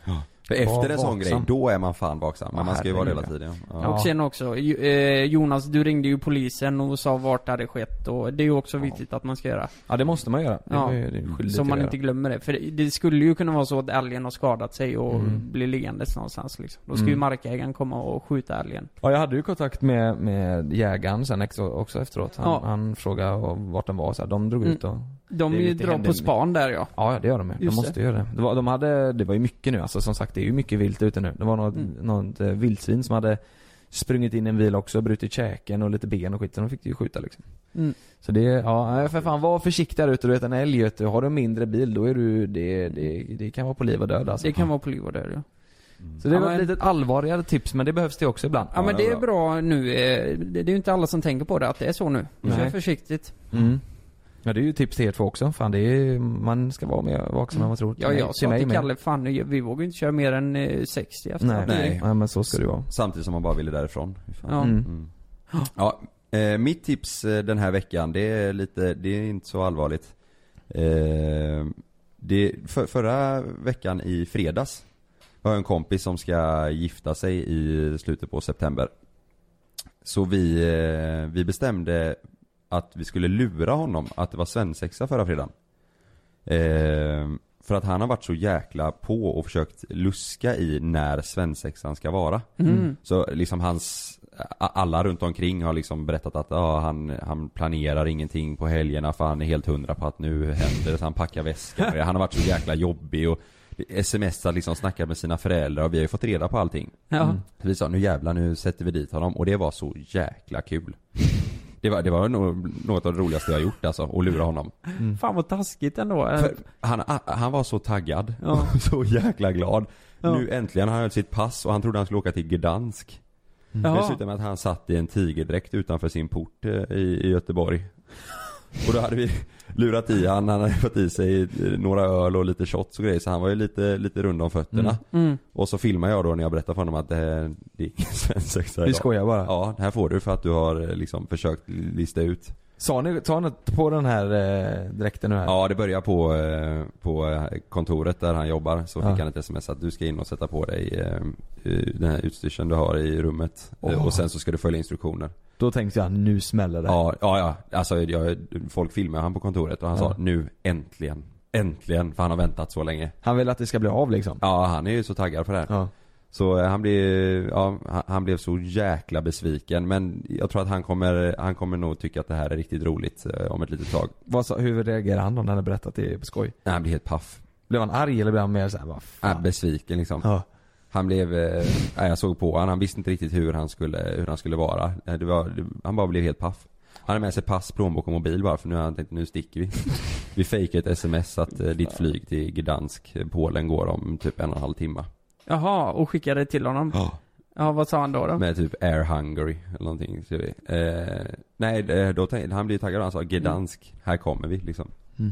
[SPEAKER 8] För efter en sån grej, då är man fan vaksam. Men man ska ju vara det hela
[SPEAKER 7] herregud.
[SPEAKER 8] tiden.
[SPEAKER 9] Och sen också, ju- eh, Jonas du ringde ju polisen och sa vart det hade skett och det är ju också viktigt att man ska göra.
[SPEAKER 7] Ja det måste man göra. Det
[SPEAKER 9] Ja, Mm.
[SPEAKER 7] var ju- det är skyldigt
[SPEAKER 9] så
[SPEAKER 7] att
[SPEAKER 9] man
[SPEAKER 7] göra.
[SPEAKER 9] inte glömmer det. För det, det skulle ju kunna vara så att älgen har skadat sig och
[SPEAKER 7] Mm.
[SPEAKER 9] blir liggandes någonstans liksom. Då ska
[SPEAKER 7] Mm.
[SPEAKER 9] ju markägaren komma och skjuta älgen.
[SPEAKER 7] Ja jag hade ju kontakt med, med jägaren sen ex- också efteråt. Han,
[SPEAKER 9] Ja.
[SPEAKER 7] han frågade och vart den var så här. de drog ut och
[SPEAKER 9] De
[SPEAKER 7] det är
[SPEAKER 9] ju
[SPEAKER 7] lite
[SPEAKER 9] drar på
[SPEAKER 7] händel-
[SPEAKER 9] span där ja.
[SPEAKER 7] Ja, ja det gör de ju. De
[SPEAKER 9] Just
[SPEAKER 7] måste
[SPEAKER 9] det.
[SPEAKER 7] göra det. Det var, de hade, det var ju mycket nu alltså som sagt det är ju mycket vilt ute nu. Det var något,
[SPEAKER 9] Mm.
[SPEAKER 7] något eh, vildsvin som hade sprungit in i en bil också, brutit käken och lite ben och skit. Så de fick ju skjuta liksom.
[SPEAKER 9] Mm.
[SPEAKER 7] Så det, ja nej, för fan var försiktig där ute. Du vet en älg vet du, har du en mindre bil då är du, det, det, det kan vara på liv och död alltså.
[SPEAKER 9] Det kan vara på liv och död ja.
[SPEAKER 7] Så det
[SPEAKER 9] Ja,
[SPEAKER 7] var
[SPEAKER 9] men-
[SPEAKER 7] ett litet allvarligare tips men det behövs det också ibland.
[SPEAKER 9] Ja, men det är bra nu. eh, Det det är ju inte alla som tänker på det att det är så nu.
[SPEAKER 7] Nej.
[SPEAKER 9] Kör försiktigt.
[SPEAKER 7] Mm. Ja det är ju tips till er två också. Fan det är, man ska vara mer vaksam än man tror.
[SPEAKER 9] Mm. Ja,
[SPEAKER 7] Nej,
[SPEAKER 9] jag sa
[SPEAKER 7] mig
[SPEAKER 9] till
[SPEAKER 7] med.
[SPEAKER 9] Kalle, fan nu- vi vågar ju inte köra mer än eh, 60 efter
[SPEAKER 7] Nej,
[SPEAKER 9] att-
[SPEAKER 7] nej. nej men så ska det ju vara.
[SPEAKER 8] Samtidigt som man bara ville därifrån. Fy fan.
[SPEAKER 9] Ja.
[SPEAKER 8] Mm. Ja, eh, mitt tips eh, den här veckan, det är lite, det är inte så allvarligt. Eh, det, för, förra veckan i fredags var jag en kompis som ska gifta sig i slutet på september. Så vi, eh, vi bestämde att vi skulle lura honom att det var svensexa förra fredagen. Eh, för att han har varit så jäkla på och försökt luska i när svensexan ska vara.
[SPEAKER 9] Mm.
[SPEAKER 8] Så liksom hans, a- alla runt omkring har liksom berättat att ja, han, han planerar ingenting på helgerna för han är helt hundra på att nu händer det. Så han packar väskan. Han har varit så jäkla jobbig och smsar liksom, snackar med sina föräldrar och vi har ju fått reda på allting.
[SPEAKER 9] Ja. Mm.
[SPEAKER 8] Så vi sa nu jävlar nu sätter vi dit honom och det var så jäkla kul. Det var, det var nog något av det roligaste jag har gjort alltså, att lura honom.
[SPEAKER 9] Fan vad taskigt ändå.
[SPEAKER 8] Mm.
[SPEAKER 9] Eh,
[SPEAKER 8] För han, han var så taggad.
[SPEAKER 9] Ja.
[SPEAKER 8] Och så jäkla glad.
[SPEAKER 9] Ja.
[SPEAKER 8] Nu äntligen har han höll sitt pass och han trodde han skulle åka till Gdansk.
[SPEAKER 9] Mm.
[SPEAKER 8] Det
[SPEAKER 9] Jaha.
[SPEAKER 8] slutade med att han satt i en tigerdräkt utanför sin port eh, i, i Göteborg. Och då hade vi lurat i han, han hade fått i sig eh, några öl och lite shots och grejer så han var ju lite, lite rund om fötterna.
[SPEAKER 9] Mm. Mm.
[SPEAKER 8] Och så filmade jag då när jag berättade för honom att eh, det, här- det är ingen svensexa
[SPEAKER 7] Vi
[SPEAKER 8] idag.
[SPEAKER 7] skojar bara.
[SPEAKER 8] Ja, det här får du för att du har eh, liksom försökt lista ut.
[SPEAKER 7] Sa ni, sa ni på den här eh, dräkten nu här?
[SPEAKER 8] Ja, det börjar på, eh, på eh, kontoret där han jobbar. Så fick
[SPEAKER 7] Ja.
[SPEAKER 8] han ett sms att du ska in och sätta på dig eh, eh, den här utstyrseln du har i rummet. Eh,
[SPEAKER 7] Åh.
[SPEAKER 8] Och sen så ska du följa instruktioner.
[SPEAKER 7] Då tänkte jag, nu smäller det.
[SPEAKER 8] Ja, ja, ja. Alltså, jag, folk filmar han på kontoret och han
[SPEAKER 7] Ja.
[SPEAKER 8] sa nu äntligen. Äntligen, för han har väntat så länge.
[SPEAKER 7] Han vill att det ska bli av liksom.
[SPEAKER 8] Ja, han är ju så taggad på det här. Så eh, han blev, ja, han- han blev så jäkla besviken men jag tror att han kommer, han kommer nog tycka att det här är riktigt roligt eh, om ett litet tag.
[SPEAKER 7] Vad sa, hur reagerade han då när han berättat det på skoj?
[SPEAKER 8] Nej, han blev helt paff.
[SPEAKER 7] Blev han arg eller blev han mer såhär, vad fan?
[SPEAKER 8] Ja, besviken liksom. Han blev, eh, nej, jag såg på honom, han visste inte riktigt hur han skulle, hur han skulle vara. Eh, Det var, det, han bara blev helt paff. Han hade med sig pass, plånbok och mobil bara för nu har han tänkt, nu sticker vi. Vi fejkar ett sms att eh, ditt flyg till Gdansk, eh, Polen går om typ en och en halv timme.
[SPEAKER 9] Jaha, och skickade det till honom?
[SPEAKER 8] Ja.
[SPEAKER 9] Ja, vad sa han då? då?
[SPEAKER 8] Med typ Air Hungary eller någonting. Så, eh, nej, eh, då tänkte, han blev taggad och han sa Gdansk, här kommer vi liksom.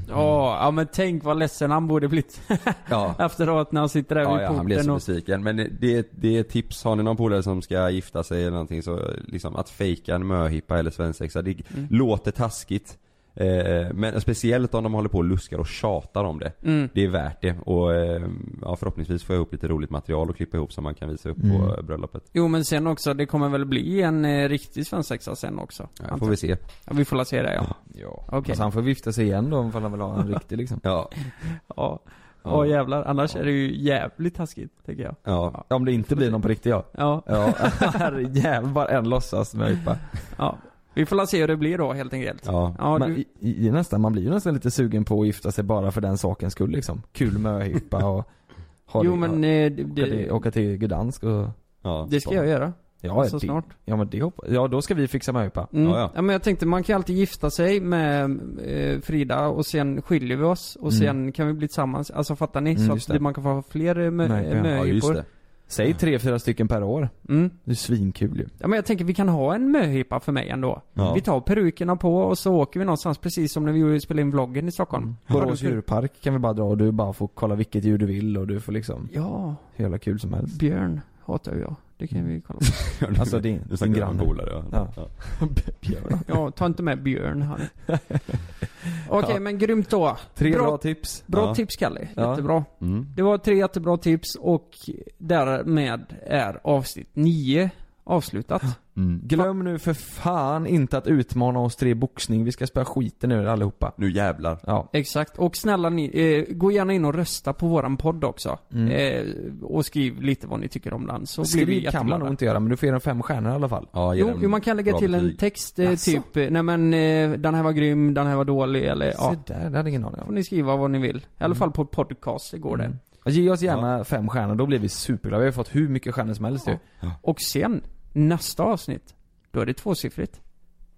[SPEAKER 9] Ja, ja men tänk vad ledsen han borde blivit.
[SPEAKER 8] Ja.
[SPEAKER 9] Efteråt när han sitter där
[SPEAKER 8] Ja,
[SPEAKER 9] vid
[SPEAKER 8] ja, han blev
[SPEAKER 9] porten
[SPEAKER 8] så
[SPEAKER 9] och...
[SPEAKER 8] besviken. Men det, det är ett tips. Har ni någon polare som ska gifta sig eller någonting så liksom att fejka en möhippa eller svensexa. Det
[SPEAKER 9] Mm.
[SPEAKER 8] låter taskigt. Eh, men speciellt om de håller på och luskar och tjatar om det.
[SPEAKER 9] Mm.
[SPEAKER 8] Det är värt det. Och eh, ja, förhoppningsvis får jag ihop lite roligt material och klippa ihop som man kan visa upp
[SPEAKER 9] Mm.
[SPEAKER 8] på eh, bröllopet.
[SPEAKER 9] Jo men sen också, det kommer väl bli en eh, riktig svensexa sen också?
[SPEAKER 8] Ja,
[SPEAKER 9] antar
[SPEAKER 8] får vi se.
[SPEAKER 9] Ja, vi får la se det ja.
[SPEAKER 7] Ja.
[SPEAKER 9] Okej.
[SPEAKER 7] Alltså, han får vifta sig igen då om han vill ha en riktig liksom.
[SPEAKER 8] Ja.
[SPEAKER 9] Ja. Ja jävlar, annars är det ju jävligt taskigt, tänker jag.
[SPEAKER 7] Ja. Om det inte blir någon på riktigt ja.
[SPEAKER 9] Ja.
[SPEAKER 7] Ja. Herrejävlar, bara en låtsas med yppa.
[SPEAKER 9] Ja. Vi får la se hur det blir då helt enkelt.
[SPEAKER 7] Ja.
[SPEAKER 9] Ja,
[SPEAKER 7] Men
[SPEAKER 9] du-
[SPEAKER 7] i, i, nästan, man blir ju nästan lite sugen på att gifta sig bara för den sakens skull liksom. Kul möhippa och ha
[SPEAKER 9] Jo,
[SPEAKER 7] det,
[SPEAKER 9] men,
[SPEAKER 7] ha,
[SPEAKER 9] eh, det-
[SPEAKER 7] åka, till, åka till Gdansk och
[SPEAKER 9] Det ska jag göra.
[SPEAKER 7] Ja,
[SPEAKER 9] Så
[SPEAKER 7] det,
[SPEAKER 9] snart.
[SPEAKER 7] Ja men det hoppas Ja då ska vi fixa möhippa.
[SPEAKER 9] Mm. Ja, men jag tänkte, man kan ju alltid gifta sig med eh, Frida och sen skiljer vi oss och
[SPEAKER 7] Mm.
[SPEAKER 9] sen kan vi bli tillsammans. Alltså fattar ni?
[SPEAKER 7] Mm,
[SPEAKER 9] så
[SPEAKER 7] just
[SPEAKER 9] att
[SPEAKER 7] det.
[SPEAKER 9] man kan få ha fler eh, mö-
[SPEAKER 7] Nej,
[SPEAKER 9] möhippor.
[SPEAKER 7] Säg tre, fyra stycken per år. Det är svinkul ju.
[SPEAKER 9] Mm. Ja men jag tänker vi kan ha en möhippa för mig ändå.
[SPEAKER 7] Ja.
[SPEAKER 9] Vi tar perukerna på och så åker vi någonstans precis som när vi gjorde- spelade in vloggen i Stockholm. Ja, då
[SPEAKER 7] Mm. Borås
[SPEAKER 9] ska-
[SPEAKER 7] djurpark kan vi bara dra och du bara får kolla vilket djur du vill och du får liksom
[SPEAKER 9] Ja.
[SPEAKER 7] Hur jävla kul som helst.
[SPEAKER 9] Björn hatar ju jag. Det kan vi kolla
[SPEAKER 7] på. alltså din,
[SPEAKER 8] Nu snackar vi
[SPEAKER 7] din
[SPEAKER 8] om en
[SPEAKER 7] granne.
[SPEAKER 8] polare, ja.
[SPEAKER 7] Björn.
[SPEAKER 9] Ja, ta inte med Björn han. Okej
[SPEAKER 7] Ja.
[SPEAKER 9] men grymt då.
[SPEAKER 7] Tre bra tips.
[SPEAKER 9] Bra
[SPEAKER 7] Ja.
[SPEAKER 9] tips Kalle.
[SPEAKER 7] Ja.
[SPEAKER 9] Jättebra.
[SPEAKER 7] Mm.
[SPEAKER 9] Det var tre jättebra tips och därmed är avsnitt nio avslutat.
[SPEAKER 7] Glöm nu för fan inte att utmana oss tre i boxning. Vi ska spöa skiten ur allihopa.
[SPEAKER 8] Nu jävlar.
[SPEAKER 7] Ja.
[SPEAKER 9] Exakt. Och snälla ni, eh, gå gärna in och rösta på våran podd också.
[SPEAKER 7] Mm.
[SPEAKER 9] Eh, och skriv lite vad ni tycker om den så
[SPEAKER 7] Skriv
[SPEAKER 9] blir vi
[SPEAKER 7] kan man nog
[SPEAKER 9] jätteglada.
[SPEAKER 7] inte göra men du får ge den fem stjärnor i alla fall.
[SPEAKER 8] Ja,
[SPEAKER 9] Jo, jo, man kan lägga till en text eh, typ, eh, nej men eh, den här var grym, den här var dålig eller ja.
[SPEAKER 7] Se Mm. där, det hade ingen aning
[SPEAKER 9] får
[SPEAKER 7] om.
[SPEAKER 9] ni skriva vad ni vill. I alla fall på podcast, det går det.
[SPEAKER 7] Mm. Ge oss gärna fem stjärnor, då blir vi superglada. Vi har fått hur mycket stjärnor som helst ju.
[SPEAKER 9] Och sen, nästa avsnitt, då är det tvåsiffrigt.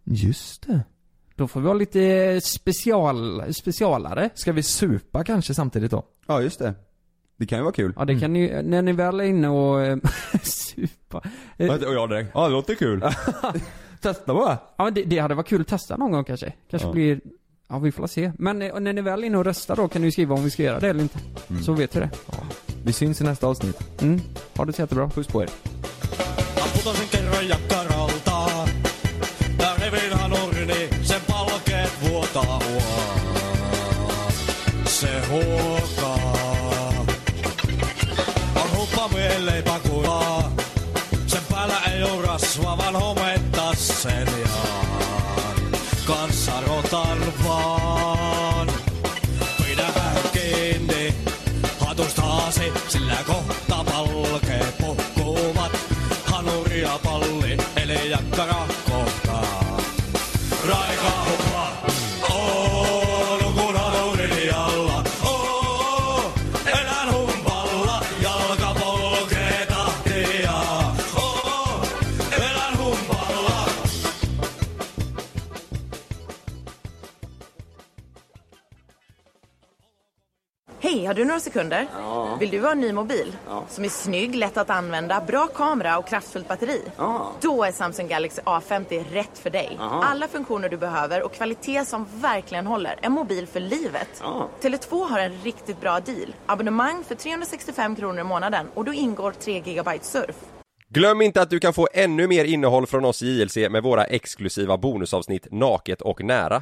[SPEAKER 7] Just det.
[SPEAKER 9] Då får vi ha lite eh, special, specialare.
[SPEAKER 7] Ska vi supa kanske samtidigt då?
[SPEAKER 8] Ja, just det. Det kan ju vara kul. Mm.
[SPEAKER 9] Ja, det kan ni när ni väl är inne och eh, supa. Eh,
[SPEAKER 8] Och jag direkt, ja det låter kul.
[SPEAKER 7] Testa bara.
[SPEAKER 9] Ja, men det, det hade varit kul att testa någon gång kanske. Kanske
[SPEAKER 8] Ja.
[SPEAKER 9] blir, ja vi får la se. Men eh, när ni väl är inne och röstar då kan ni ju skriva om vi ska göra det eller inte.
[SPEAKER 7] Mm.
[SPEAKER 9] Så vet vi det.
[SPEAKER 7] Vi syns i nästa avsnitt.
[SPEAKER 9] Mm. Ha det så jättebra.
[SPEAKER 7] Puss på er.
[SPEAKER 11] putosin kerran jakkaralta. Täyden vinhan urni, sen palkeet vuotaa huoraa. Se huokaa. On huppa mielleipä kuvaa. Sen päällä ei oo rasva, vaan hometta sen jaan. Kanssa rotan vaan. Pidä vähän kiinni hatustaasi, sillä kohta palkee puhkuvat. Hanuri ja palli, eli jakkara kohtaa. Raika hupla, oon kun hanurin jalla. Oo, elän humpalla, jalka polkee tahtia. Oo, elän humpalla.
[SPEAKER 6] Hej, har du några sekunder? Vill du ha en ny mobil? Som är snygg, lätt att använda, bra kamera och kraftfullt batteri? Då är Samsung Galaxy A50 rätt för dig. Alla funktioner du behöver och kvalitet som verkligen håller. En mobil för livet. Tele2 har en riktigt bra deal. Abonnemang för 365 kronor i månaden och då ingår 3 GB surf. Glöm inte att du kan få ännu mer innehåll från oss i JLC med våra exklusiva bonusavsnitt Naket och nära.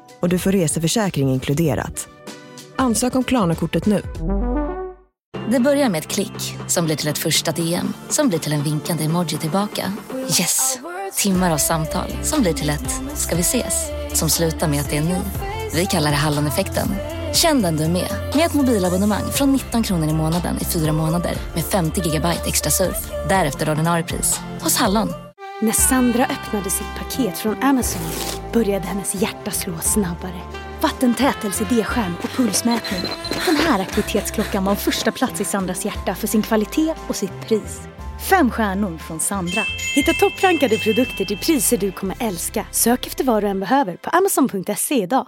[SPEAKER 5] och du får reseförsäkring inkluderat. Ansök om Klarna-kortet nu.
[SPEAKER 13] Det börjar med ett klick som blir till ett första DM som blir till en vinkande emoji tillbaka. Yes! Timmar av samtal som blir till ett “ska vi ses?” som slutar med att det är ni. Vi kallar det Halloneffekten. Känn den du är med, med ett mobilabonnemang från 19 kronor i månaden i fyra månader med 50 gigabyte extra surf. Därefter ordinarie pris, hos Hallon.
[SPEAKER 14] När Sandra öppnade sitt paket från Amazon började hennes hjärta slå snabbare. Vattentät LCD-skärm och pulsmätning. Den här aktivitetsklockan var första plats i Sandras hjärta för sin kvalitet och sitt pris. Fem stjärnor från Sandra. Hitta topprankade produkter till priser du kommer älska. Sök efter vad du än behöver på amazon.se idag.